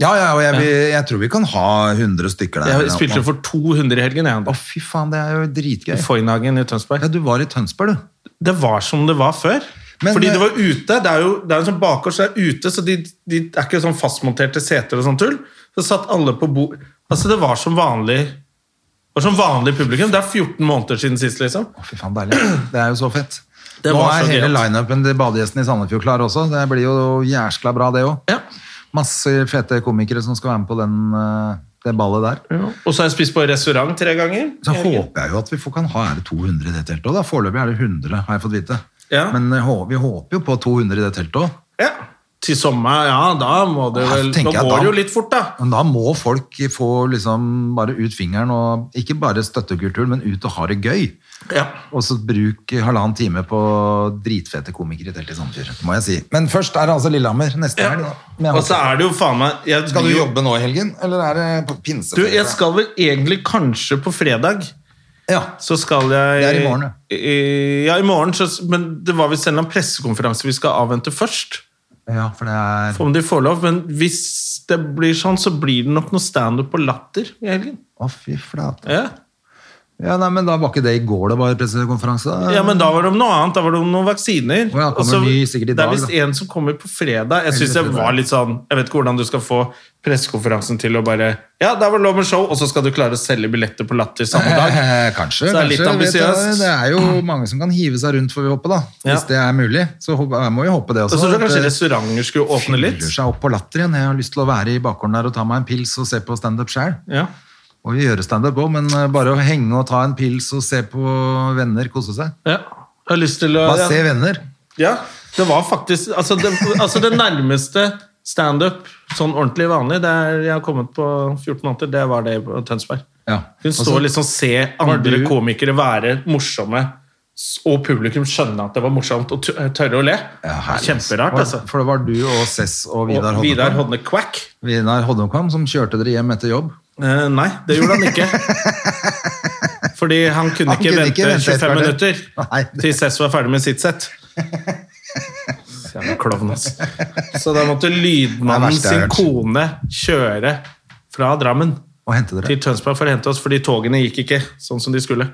[SPEAKER 2] Ja, ja, og jeg, vil- jeg tror vi kan ha 100 stykker der.
[SPEAKER 1] Jeg spilte for 200 i helgen.
[SPEAKER 2] Å,
[SPEAKER 1] Jeg,
[SPEAKER 2] fy faen, det er jo dritgøy.
[SPEAKER 1] I Foynhagen i Tønsberg.
[SPEAKER 2] Ja, du var i Tønsberg, du.
[SPEAKER 1] Det var som det var før.
[SPEAKER 2] Men- eh,
[SPEAKER 1] Fordi det var ute. Det er jo det er en sånn bakgård, så det er ute, så de, de det er ikke sånn fastmonterte seter og sånn tull. Så satt alle på bord Altså, det var som vanlig Det var som vanlig publikum. Det er 14 måneder siden sist, liksom.
[SPEAKER 2] Å, fy faen, deilig. Det er jo så fett.
[SPEAKER 1] Det
[SPEAKER 2] Nå
[SPEAKER 1] var
[SPEAKER 2] er
[SPEAKER 1] så
[SPEAKER 2] hele
[SPEAKER 1] gøy.
[SPEAKER 2] lineupen til badegjestene i Sandefjord klar også. Det blir jo jæskla bra, det òg.
[SPEAKER 1] Ja.
[SPEAKER 2] Masse fete komikere som skal være med på den, eh, det ballet der.
[SPEAKER 1] Og så har jeg spist på restaurant tre ganger.
[SPEAKER 2] Så håper jeg jo at vi får, kan ha er det 200 i det teltet òg. Foreløpig er det 100, har jeg fått vite.
[SPEAKER 1] Ja.
[SPEAKER 2] Men eh, hå- vi håper jo på 200 i det teltet òg.
[SPEAKER 1] Ja. Til sommer, ja, da må det
[SPEAKER 2] Ja,
[SPEAKER 1] vel Nå
[SPEAKER 2] tenker jeg
[SPEAKER 1] går
[SPEAKER 2] da-
[SPEAKER 1] det jo litt fort, da.
[SPEAKER 2] Men da må folk få liksom bare ut fingeren og ikke bare støtte kulturen, men ut og ha det gøy.
[SPEAKER 1] Ja.
[SPEAKER 2] Og så bruk halvannen time på dritfete komikere i teltet i Sandefjord, må jeg si. Men først er det altså Lillehammer neste helg. da. Men jeg
[SPEAKER 1] Og så
[SPEAKER 2] håper-
[SPEAKER 1] er det jo faen meg jeg,
[SPEAKER 2] Skal du
[SPEAKER 1] blir jo-
[SPEAKER 2] jobbe nå i helgen, eller er det på pinse?
[SPEAKER 1] Du, jeg skal vel egentlig kanskje på fredag.
[SPEAKER 2] Ja.
[SPEAKER 1] Så skal jeg
[SPEAKER 2] Det er i morgen, ja.
[SPEAKER 1] I- Ja, i morgen. Så, men det var visst en eller annen pressekonferanse vi skal avvente først.
[SPEAKER 2] ja, for det er...
[SPEAKER 1] Om de får lov. Men hvis det blir sånn, så blir det nok noe standup og latter i helgen.
[SPEAKER 2] Å, fy flate.
[SPEAKER 1] Ja.
[SPEAKER 2] Ja, nei, men da var ikke det i går det var pressekonferanse? da?
[SPEAKER 1] ja, men da var det om noe annet. Da var det om noen vaksiner.
[SPEAKER 2] Å ja, kommer
[SPEAKER 1] Og så-
[SPEAKER 2] ny sikkert i
[SPEAKER 1] det er
[SPEAKER 2] dag,
[SPEAKER 1] visst
[SPEAKER 2] da.
[SPEAKER 1] en som kommer på fredag. Jeg synes jeg
[SPEAKER 2] fredag.
[SPEAKER 1] var litt sånn Jeg vet ikke hvordan du skal få pressekonferansen til å bare Ja, der var det lov med show, og så skal du klare å selge billetter på Latter samme dag.
[SPEAKER 2] *laughs* Eh, kanskje.
[SPEAKER 1] Så det er litt
[SPEAKER 2] kanskje, vet du,
[SPEAKER 1] ambisiøst.
[SPEAKER 2] Det er jo *clears throat* mange som kan hive seg rundt, får vi håpe, da. Hvis
[SPEAKER 1] Ja.
[SPEAKER 2] det er mulig. Så håp- jeg må jo håpe det
[SPEAKER 1] Så
[SPEAKER 2] også.
[SPEAKER 1] tror jeg
[SPEAKER 2] at
[SPEAKER 1] kanskje
[SPEAKER 2] det
[SPEAKER 1] restauranter skulle åpne litt.
[SPEAKER 2] eh, fyller seg opp på latter igjen. Jeg har lyst til å være i bakgården der og ta meg en pils og se på standup sjøl.
[SPEAKER 1] Ja.
[SPEAKER 2] Og gjøre standup òg, men eh, bare å henge og ta en pils og se på venner, kose seg.
[SPEAKER 1] ja. Jeg har lyst til å
[SPEAKER 2] Bare
[SPEAKER 1] ja.
[SPEAKER 2] se venner.
[SPEAKER 1] Ja, det var faktisk Altså det, altså det nærmeste standup sånn ordentlig vanlig det er, jeg har kommet på 14 måneder, det var det på Tønsberg.
[SPEAKER 2] Ja.
[SPEAKER 1] Hun
[SPEAKER 2] Og så-
[SPEAKER 1] står og liksom se andre
[SPEAKER 2] Altså, du-
[SPEAKER 1] komikere være morsomme, s- og publikum skjønne at det var morsomt, og tu- tørre å le.
[SPEAKER 2] Ja, herlig.
[SPEAKER 1] Kjemperart,
[SPEAKER 2] Var-
[SPEAKER 1] altså.
[SPEAKER 2] For det var du og Cess og Vidar
[SPEAKER 1] Og Vidar
[SPEAKER 2] Hodnekvam
[SPEAKER 1] Hodne Quack.
[SPEAKER 2] Vidar Hodnekvam som kjørte dere hjem etter jobb.
[SPEAKER 1] Eh, nei, det gjorde han ikke. Fordi han kunne
[SPEAKER 2] Han
[SPEAKER 1] ikke
[SPEAKER 2] kunne
[SPEAKER 1] vente
[SPEAKER 2] ikke vente et
[SPEAKER 1] 25
[SPEAKER 2] kvarter.
[SPEAKER 1] minutter
[SPEAKER 2] Nei, det-
[SPEAKER 1] til Cess var ferdig med sitt sett. Jævla klovn, ass. Så da måtte
[SPEAKER 2] Det er
[SPEAKER 1] lydmannen
[SPEAKER 2] det
[SPEAKER 1] sin
[SPEAKER 2] verste jeg har hørt.
[SPEAKER 1] kone kjøre fra Drammen
[SPEAKER 2] Og hente dere.
[SPEAKER 1] til Tønsberg for å hente oss, fordi togene gikk ikke sånn som de skulle.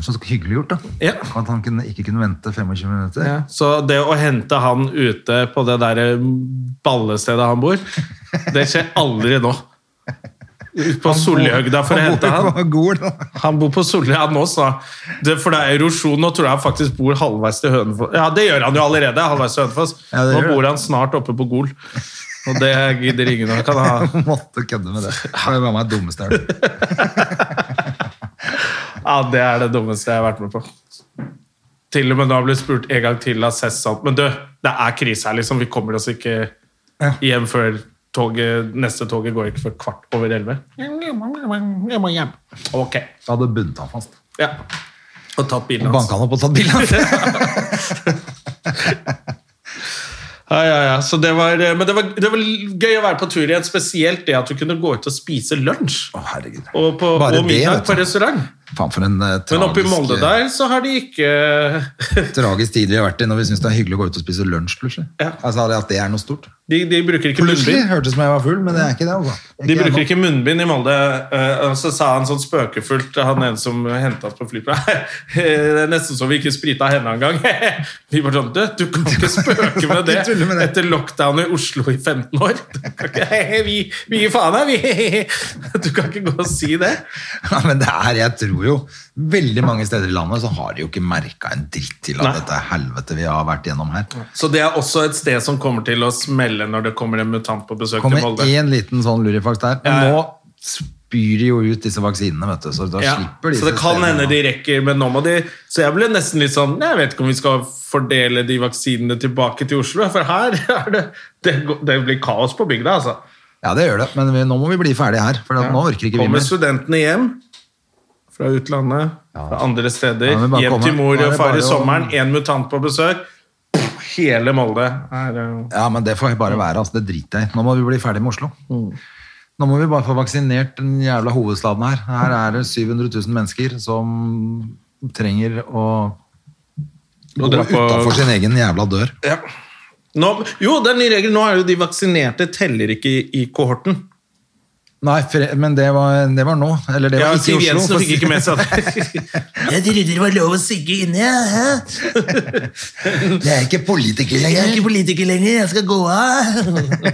[SPEAKER 2] Så hyggelig gjort, da.
[SPEAKER 1] Ja.
[SPEAKER 2] At han kunne, ikke kunne vente 25 minutter.
[SPEAKER 1] Ja. Så det å hente han ute på det der eh, ballestedet han bor, det skjer aldri nå. Ut på Solihøgda for å hente han.
[SPEAKER 2] *laughs* Han bor jo på Gol, da.
[SPEAKER 1] Han bor på Solli han også, da. Det, for det er erosjon. Nå tror jeg han faktisk bor halvveis til Hønefoss. Ja, det gjør han jo allerede. halvveis til Hønefoss.
[SPEAKER 2] Ja, det
[SPEAKER 1] Nå
[SPEAKER 2] gjør
[SPEAKER 1] bor han snart oppe på Gol. Og det gidder ingen å kan
[SPEAKER 2] *laughs*
[SPEAKER 1] ha.
[SPEAKER 2] Måtte kødde med det. Det var meg dummeste jeg har hørt.
[SPEAKER 1] Ja, Det er det dummeste jeg har vært med på. Til og med da ble jeg spurt en gang til av Cess sånn Men du, det er krise her, liksom. Vi kommer oss ikke hjem før toget, neste toget går ikke før kvart over elleve. Jeg må hjem. Ok.
[SPEAKER 2] Jeg hadde bundet han fast.
[SPEAKER 1] Ja. Og tatt bilen hans.
[SPEAKER 2] Banka han opp og tatt bilde av ham.
[SPEAKER 1] Ja, ja, ja. Så det var, eh, men det var, det var gøy å være på tur igjen, spesielt det at du kunne gå ut og spise lunsj.
[SPEAKER 2] Å, herregud.
[SPEAKER 1] Og, på,
[SPEAKER 2] Bare
[SPEAKER 1] og middag
[SPEAKER 2] det,
[SPEAKER 1] på
[SPEAKER 2] vet du.
[SPEAKER 1] restaurant.
[SPEAKER 2] Faen, for en eh,
[SPEAKER 1] Men oppe i Molde
[SPEAKER 2] tragisk, eh,
[SPEAKER 1] der så har de ikke *laughs*
[SPEAKER 2] tragisk tid vi har vært i når vi syns det er hyggelig å gå ut og spise lunsj, plutselig.
[SPEAKER 1] Ja.
[SPEAKER 2] Altså, at det er noe stort.
[SPEAKER 1] De, de bruker ikke
[SPEAKER 2] Plutselig
[SPEAKER 1] munnbind.
[SPEAKER 2] hørtes det ut som jeg var full, men det er ikke det. Altså.
[SPEAKER 1] De bruker
[SPEAKER 2] jeg nå.
[SPEAKER 1] ikke munnbind i Molde. eh, Og så sa han sånn spøkefullt, han ene som henta oss på flyplassen *laughs* Det er nesten så vi ikke sprita henne engang. *laughs* Vi bare sånn Du, du kan ikke spøke
[SPEAKER 2] *laughs*
[SPEAKER 1] med det
[SPEAKER 2] ikke tulle med det.
[SPEAKER 1] etter lockdown i Oslo i 15 år. *laughs* Du kan ikke, vi, vi gir faen, her, vi. *laughs* Du kan ikke gå og si det.
[SPEAKER 2] *laughs* Ja, men det er, jeg tror jo Veldig mange steder i landet så har de jo ikke merka en dritt til at
[SPEAKER 1] Nei.
[SPEAKER 2] dette er helvete vi har vært gjennom her.
[SPEAKER 1] Så det er også et sted som kommer til å smelle når det kommer en mutant på besøk
[SPEAKER 2] Kommer
[SPEAKER 1] til Molde.
[SPEAKER 2] én liten sånn lurifaks der. Men
[SPEAKER 1] Ja, ja.
[SPEAKER 2] nå spyr de jo ut disse vaksinene, vet du. Så da
[SPEAKER 1] Ja,
[SPEAKER 2] slipper de
[SPEAKER 1] så det kan
[SPEAKER 2] systemene.
[SPEAKER 1] hende de rekker, men nå må de Så jeg ble nesten litt sånn Jeg vet ikke om vi skal fordele de vaksinene tilbake til Oslo, for her *laughs* er det Det, går- det blir kaos på bygda, altså.
[SPEAKER 2] Ja, det gjør det. Men vi, nå må vi bli ferdig her, for at nå orker ikke vi
[SPEAKER 1] Kommer
[SPEAKER 2] mer.
[SPEAKER 1] studentene hjem fra utlandet, fra andre steder,
[SPEAKER 2] Ja, men bare
[SPEAKER 1] hjem
[SPEAKER 2] komme.
[SPEAKER 1] til mor
[SPEAKER 2] Da er
[SPEAKER 1] og
[SPEAKER 2] det
[SPEAKER 1] far
[SPEAKER 2] bare
[SPEAKER 1] i
[SPEAKER 2] å-
[SPEAKER 1] sommeren, én mutant på besøk Hele Molde er eh,
[SPEAKER 2] Ja, men det får bare være. Altså, det driter jeg i. Nå må vi bli ferdig med Oslo.
[SPEAKER 1] Mm.
[SPEAKER 2] Nå må vi bare få vaksinert den jævla hovedstaden her. Her er det 700 000 mennesker som trenger å gå
[SPEAKER 1] å dra på-
[SPEAKER 2] utafor sin egen jævla dør.
[SPEAKER 1] nå, Jo, det er en ny regel. Nå er jo de vaksinerte teller ikke i, i kohorten.
[SPEAKER 2] Nei, fre- men det var, det var nå. Eller det
[SPEAKER 1] Ja,
[SPEAKER 2] var ikke i
[SPEAKER 1] Siv
[SPEAKER 2] Oslo.
[SPEAKER 1] Jensen
[SPEAKER 2] for å si-
[SPEAKER 1] fikk ikke med seg det.
[SPEAKER 3] Jeg trodde det var lov å sigge inne, jeg.
[SPEAKER 2] Jeg er ikke politiker
[SPEAKER 3] Jeg er
[SPEAKER 2] lenger.
[SPEAKER 3] ikke politiker lenger, jeg skal gå av.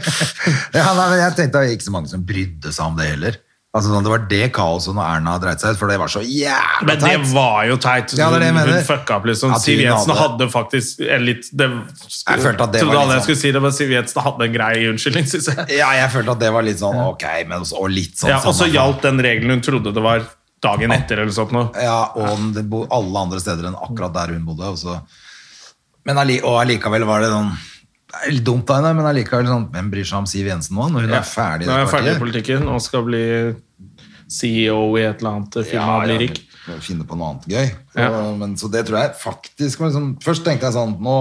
[SPEAKER 2] *laughs* Ja, nei, men jeg tenkte det var ikke så mange som brydde seg om det heller. Altså, sånn, det var det kaoset når Erna dreit seg ut, for det var så jævla
[SPEAKER 1] Men det
[SPEAKER 2] teit.
[SPEAKER 1] var jo teit.
[SPEAKER 2] Ja, det er det jeg mener.
[SPEAKER 1] Hun fucka opp, liksom.
[SPEAKER 2] Ja,
[SPEAKER 1] Siv
[SPEAKER 2] tiden
[SPEAKER 1] Jensen
[SPEAKER 2] hadde-
[SPEAKER 1] hadde faktisk en litt det,
[SPEAKER 2] Jeg følte at det
[SPEAKER 1] trodde
[SPEAKER 2] var
[SPEAKER 1] alle
[SPEAKER 2] litt
[SPEAKER 1] jeg skulle si det, men Siv Jensen hadde en grei unnskyldning, synes jeg.
[SPEAKER 2] Ja, jeg følte at det var litt sånn ok, men også, og litt sånn
[SPEAKER 1] Ja, og så
[SPEAKER 2] samme-
[SPEAKER 1] gjaldt den regelen hun trodde det var dagen etter eller sånt noe.
[SPEAKER 2] Ja, og det bo, alle andre steder enn akkurat der hun bodde. Og, så. Men alli, og allikevel var det sånn det er litt dumt av henne, men allikevel sånn Hvem bryr seg om Siv Jensen nå, når hun er ferdig i det
[SPEAKER 1] Nå er jeg ferdig i
[SPEAKER 2] partiet?
[SPEAKER 1] politikken og skal bli CEO i et eller annet firma og bli rik.
[SPEAKER 2] ja, finne på noe annet gøy. Så,
[SPEAKER 1] Ja.
[SPEAKER 2] men, så det tror jeg faktisk var liksom, Først tenkte jeg sånn Nå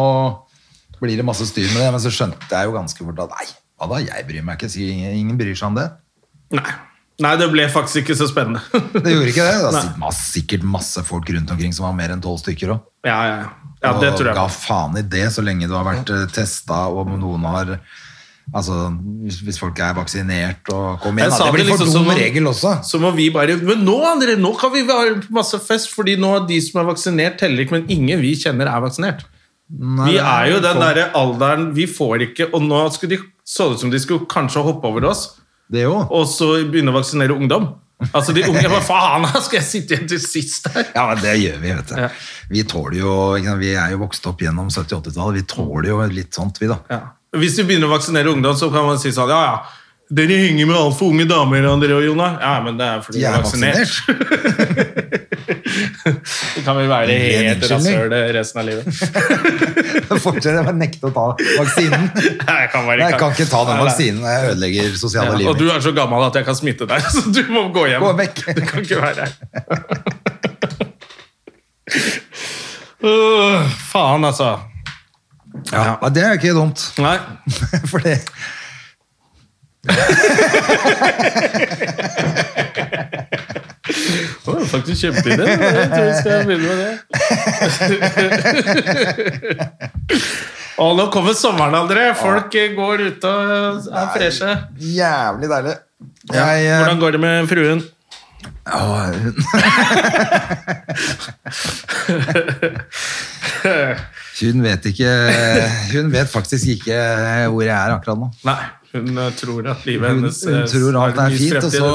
[SPEAKER 2] blir det masse styr med det, men så skjønte jeg jo ganske fort at nei, hva da, jeg bryr meg ikke. sier Ingen, ingen bryr seg om det.
[SPEAKER 1] Nei. Nei, det ble faktisk ikke så spennende. *laughs*
[SPEAKER 2] Det gjorde ikke det. Det var sikkert masse, sikkert masse folk rundt omkring som var mer enn tolv stykker òg.
[SPEAKER 1] ja, ja. ja, det tror jeg.
[SPEAKER 2] Og ga faen i det så lenge du har vært eh, testa og om noen har Altså, hvis, hvis folk er vaksinert og Kom igjen,
[SPEAKER 1] Jeg
[SPEAKER 2] da.
[SPEAKER 1] sa
[SPEAKER 2] Det blir
[SPEAKER 1] det liksom
[SPEAKER 2] for dum
[SPEAKER 1] som om-
[SPEAKER 2] regel også.
[SPEAKER 1] Så må vi bare Men nå, André, nå kan vi ha masse fest, fordi nå er de som er vaksinert, teller ikke, men ingen vi kjenner er vaksinert. vi er jo
[SPEAKER 2] sånn.
[SPEAKER 1] den derre alderen vi får ikke Og nå skulle de, så det ut som de skulle kanskje hoppe over oss,
[SPEAKER 2] Det jo.
[SPEAKER 1] og så begynne å vaksinere ungdom. Altså de unge
[SPEAKER 2] *laughs*
[SPEAKER 1] Hva faen, skal jeg sitte igjen til sist her?
[SPEAKER 2] Ja, men det gjør vi, vet du.
[SPEAKER 1] Ja.
[SPEAKER 2] Vi tåler jo ikke sant, Vi er jo vokst opp gjennom 70-80-tallet. Vi tåler jo litt sånt, vi, da.
[SPEAKER 1] Ja. Hvis vi begynner å vaksinere ungdom, så kan man si sånn Ja, ja. Dere henger med altfor unge damer, André og Jonna. Ja, men det er
[SPEAKER 2] De
[SPEAKER 1] fordi de er
[SPEAKER 2] er *laughs*
[SPEAKER 1] vaksinert.
[SPEAKER 2] vaksinert.
[SPEAKER 1] Det *laughs* kan vi være
[SPEAKER 2] Det er en
[SPEAKER 1] helt
[SPEAKER 2] unnskyldning.
[SPEAKER 1] rasshøl resten av livet. *laughs*
[SPEAKER 2] Fortsetter å nekte å ta
[SPEAKER 1] *laughs*
[SPEAKER 2] vaksinen.
[SPEAKER 1] Nei, jeg kan, bare,
[SPEAKER 2] Nei, jeg kan ikke ta den
[SPEAKER 1] Nei, nei.
[SPEAKER 2] vaksinen. Jeg ødelegger sosiale
[SPEAKER 1] Ja, og
[SPEAKER 2] livet
[SPEAKER 1] du
[SPEAKER 2] mitt.
[SPEAKER 1] er så gammel at jeg kan smitte deg, *laughs* så du må gå hjem.
[SPEAKER 2] Gå vekk.
[SPEAKER 1] *laughs* Du kan ikke
[SPEAKER 2] *laughs*
[SPEAKER 1] være her. Øh, faen, altså.
[SPEAKER 2] Ja. Nei, Det er jo ikke dumt. *laughs*
[SPEAKER 1] Nei.
[SPEAKER 2] For det
[SPEAKER 1] Det var faktisk kjempeidé. Jeg tror vi skal begynne med det.
[SPEAKER 2] *laughs*
[SPEAKER 1] Og nå kommer sommeren, André. Folk eh, går ute og er freshe.
[SPEAKER 2] Jævlig deilig. Jeg, eh,
[SPEAKER 1] Hvordan går det med fruen?
[SPEAKER 2] Å, hun-
[SPEAKER 1] *laughs*
[SPEAKER 2] Hun vet ikke Hun vet faktisk ikke hvor jeg er akkurat nå.
[SPEAKER 1] Nei, hun eh, tror at livet
[SPEAKER 2] Hun,
[SPEAKER 1] hennes eh,
[SPEAKER 2] hun tror alt
[SPEAKER 1] har
[SPEAKER 2] er
[SPEAKER 1] lys
[SPEAKER 2] fint, og
[SPEAKER 1] fremtid.
[SPEAKER 2] så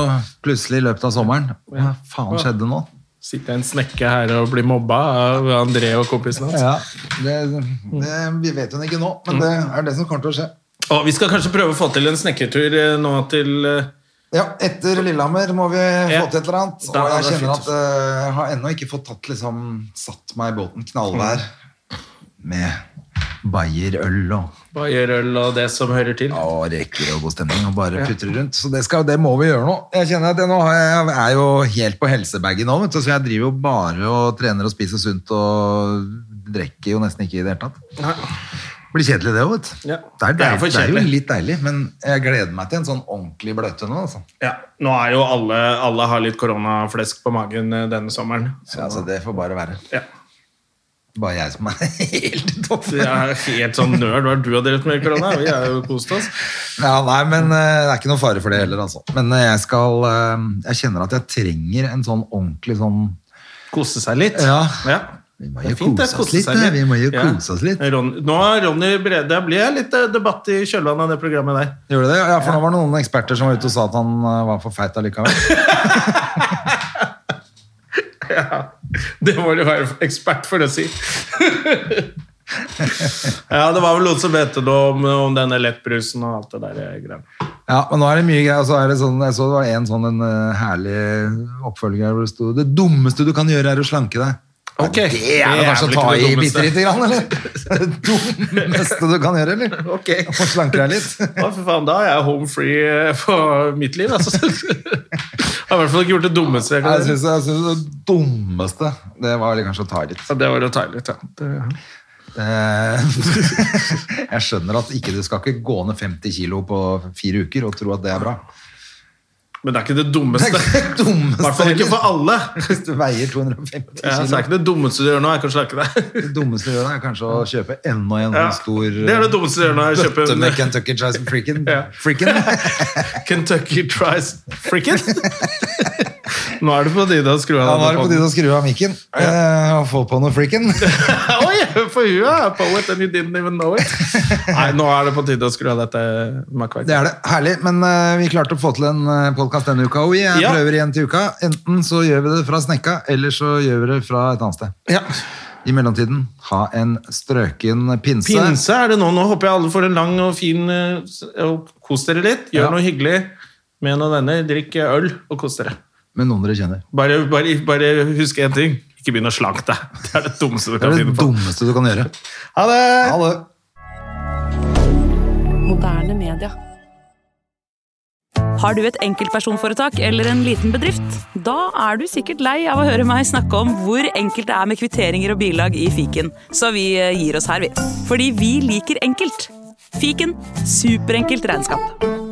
[SPEAKER 2] plutselig i løpet av sommeren Hva faen skjedde nå?
[SPEAKER 1] Sitter en snekke her og blir mobba av André og kompisen hans.
[SPEAKER 2] Ja, det, det, vi vet hun ikke nå,
[SPEAKER 1] Mm.
[SPEAKER 2] men det er det som kommer til å skje.
[SPEAKER 1] Og vi skal kanskje prøve å få til en snekkertur eh, nå til eh,
[SPEAKER 2] Ja, etter Lillehammer må vi få
[SPEAKER 1] Ja.
[SPEAKER 2] til et eller annet. Og
[SPEAKER 1] Da er
[SPEAKER 2] jeg
[SPEAKER 1] det
[SPEAKER 2] kjenner
[SPEAKER 1] fint.
[SPEAKER 2] at eh, jeg har ennå ikke fått tatt liksom Satt meg i båten knallvær
[SPEAKER 1] Mm.
[SPEAKER 2] med bayerøl og
[SPEAKER 1] Bayerøl og det som hører til.
[SPEAKER 2] Ja, og reker og god stemning og bare putter rundt. Så det, skal, det må vi gjøre nå. Jeg kjenner at jeg, nå har jeg, jeg er jo helt på helsebagen nå, vet du, så jeg driver jo bare og trener og spiser sunt og drikker jo nesten ikke i det hele tatt. Blir kjedelig det òg, vet du.
[SPEAKER 1] Ja.
[SPEAKER 2] Det, er
[SPEAKER 1] Det er
[SPEAKER 2] deilig,
[SPEAKER 1] for
[SPEAKER 2] det er jo
[SPEAKER 1] kjedelig.
[SPEAKER 2] litt deilig, men jeg gleder meg til en sånn ordentlig bløte nå. Altså.
[SPEAKER 1] Ja. Nå er jo alle Alle har litt koronaflesk på magen eh, denne sommeren. Så,
[SPEAKER 2] Ja, altså, det får bare være.
[SPEAKER 1] ja.
[SPEAKER 2] Bare jeg som er *laughs* helt i toppen.
[SPEAKER 1] Jeg er helt sånn nerd. Hva har du har drevet med i korona? Vi har jo kost oss.
[SPEAKER 2] Ja, nei, men eh, det er ikke noe fare for det heller, altså. Men eh, jeg skal eh, Jeg kjenner at jeg trenger en sånn ordentlig sånn
[SPEAKER 1] Kose seg litt.
[SPEAKER 2] Ja.
[SPEAKER 1] ja.
[SPEAKER 2] Vi må
[SPEAKER 1] Det
[SPEAKER 2] jo
[SPEAKER 1] er fint, det.
[SPEAKER 2] kose oss
[SPEAKER 1] Kose
[SPEAKER 2] litt,
[SPEAKER 1] seg
[SPEAKER 2] da.
[SPEAKER 1] litt.
[SPEAKER 2] Vi må jo
[SPEAKER 1] Ja.
[SPEAKER 2] kose oss litt.
[SPEAKER 1] Ron- Nå er Ronny Brede Det blir litt eh, debatt i kjølvannet av det programmet der.
[SPEAKER 2] Gjorde det? Ja, for nå var det noen eksperter som var ute og sa at han eh, var for feit *laughs* allikevel.
[SPEAKER 1] Det må du være ekspert for å si. Ja, det var vel noen som vet det om, om denne lettbrusen og alt det der greiene.
[SPEAKER 2] Ja, men nå er det mye greier. Og så er det sånn, jeg så det var en sånn en eh, herlig oppfølger her hvor det sto Det dummeste du kan gjøre, er å slanke deg.
[SPEAKER 1] Ok,
[SPEAKER 2] Ja, det er vel kanskje å
[SPEAKER 1] vel
[SPEAKER 2] ta
[SPEAKER 1] ikke det
[SPEAKER 2] i
[SPEAKER 1] dummeste.
[SPEAKER 2] bitte lite grann, eller? Det dummeste du kan gjøre, eller?
[SPEAKER 1] Ok.
[SPEAKER 2] Å slanke deg litt.
[SPEAKER 1] Å, for faen, da er jeg home free eh, for mitt liv, altså. Jeg har i hvert fall ikke gjort det dummeste jeg kan
[SPEAKER 2] Jeg
[SPEAKER 1] gjøre.
[SPEAKER 2] syns jeg synes det dummeste Det var vel kanskje å ta i litt.
[SPEAKER 1] Ja, det var å ta i litt, ja. Det-
[SPEAKER 2] Eh, *laughs* Jeg skjønner at ikke, du skal ikke gå ned 50 kilo på fire uker og tro at det er bra.
[SPEAKER 1] Men det er ikke det
[SPEAKER 2] Det er
[SPEAKER 1] dummeste.
[SPEAKER 2] ikke det
[SPEAKER 1] I
[SPEAKER 2] dummeste
[SPEAKER 1] hvert fall ikke for alle.
[SPEAKER 2] Hvis du veier 250 kilo.
[SPEAKER 1] Ja, så det er ikke det dummeste du gjør nå, jeg kan slakke deg.
[SPEAKER 2] Det dummeste å gjøre er kanskje å kjøpe enda en
[SPEAKER 1] Ja,
[SPEAKER 2] stor
[SPEAKER 1] det er det dummeste du gjør nå, jeg kjøper
[SPEAKER 2] bøtte med
[SPEAKER 1] en
[SPEAKER 2] Kentucky Chice Fricken.
[SPEAKER 1] Ja.
[SPEAKER 2] Fricken.
[SPEAKER 1] *laughs* Kentucky Tries Fricken. Nå er det på tide å skru
[SPEAKER 2] Ja,
[SPEAKER 1] av
[SPEAKER 2] nå er det på tide
[SPEAKER 1] podden. *laughs*
[SPEAKER 2] å skru av mikken eh, og få på noe fricken.
[SPEAKER 1] Oi, for you are a poet and you didn't even know it. Nei, nå er det på tide å skru av dette
[SPEAKER 2] Det
[SPEAKER 1] makkverket.
[SPEAKER 2] er det. Herlig. Men eh, vi klarte å få til en podkast denne uka, og vi eh,
[SPEAKER 1] Ja.
[SPEAKER 2] prøver igjen til uka. Enten så gjør vi det fra snekka, eller så gjør vi det fra et annet sted.
[SPEAKER 1] Ja.
[SPEAKER 2] I mellomtiden, ha en strøken pinse.
[SPEAKER 1] Pinse er det nå. Nå håper jeg alle får en lang og fin eh, s- og Kos dere litt. Gjør
[SPEAKER 2] Ja.
[SPEAKER 1] noe hyggelig med noen venner. Drikk øl og kos dere.
[SPEAKER 2] Med noen dere kjenner.
[SPEAKER 1] Bare, bare, bare husk én ting. Ikke begynn å slanke deg. *laughs* Det er det dummeste du
[SPEAKER 2] Det
[SPEAKER 1] kan
[SPEAKER 2] er
[SPEAKER 1] finne
[SPEAKER 2] det
[SPEAKER 1] på.
[SPEAKER 2] dummeste du kan gjøre.
[SPEAKER 1] Ha det!
[SPEAKER 2] Ha det.
[SPEAKER 4] Moderne media.
[SPEAKER 5] Har du et enkeltpersonforetak eller en liten bedrift? Da er du sikkert lei av å høre meg snakke om hvor enkelt det er med kvitteringer og bilag i fiken, så vi eh, gir oss her, vi. Fordi vi liker enkelt. Fiken superenkelt regnskap.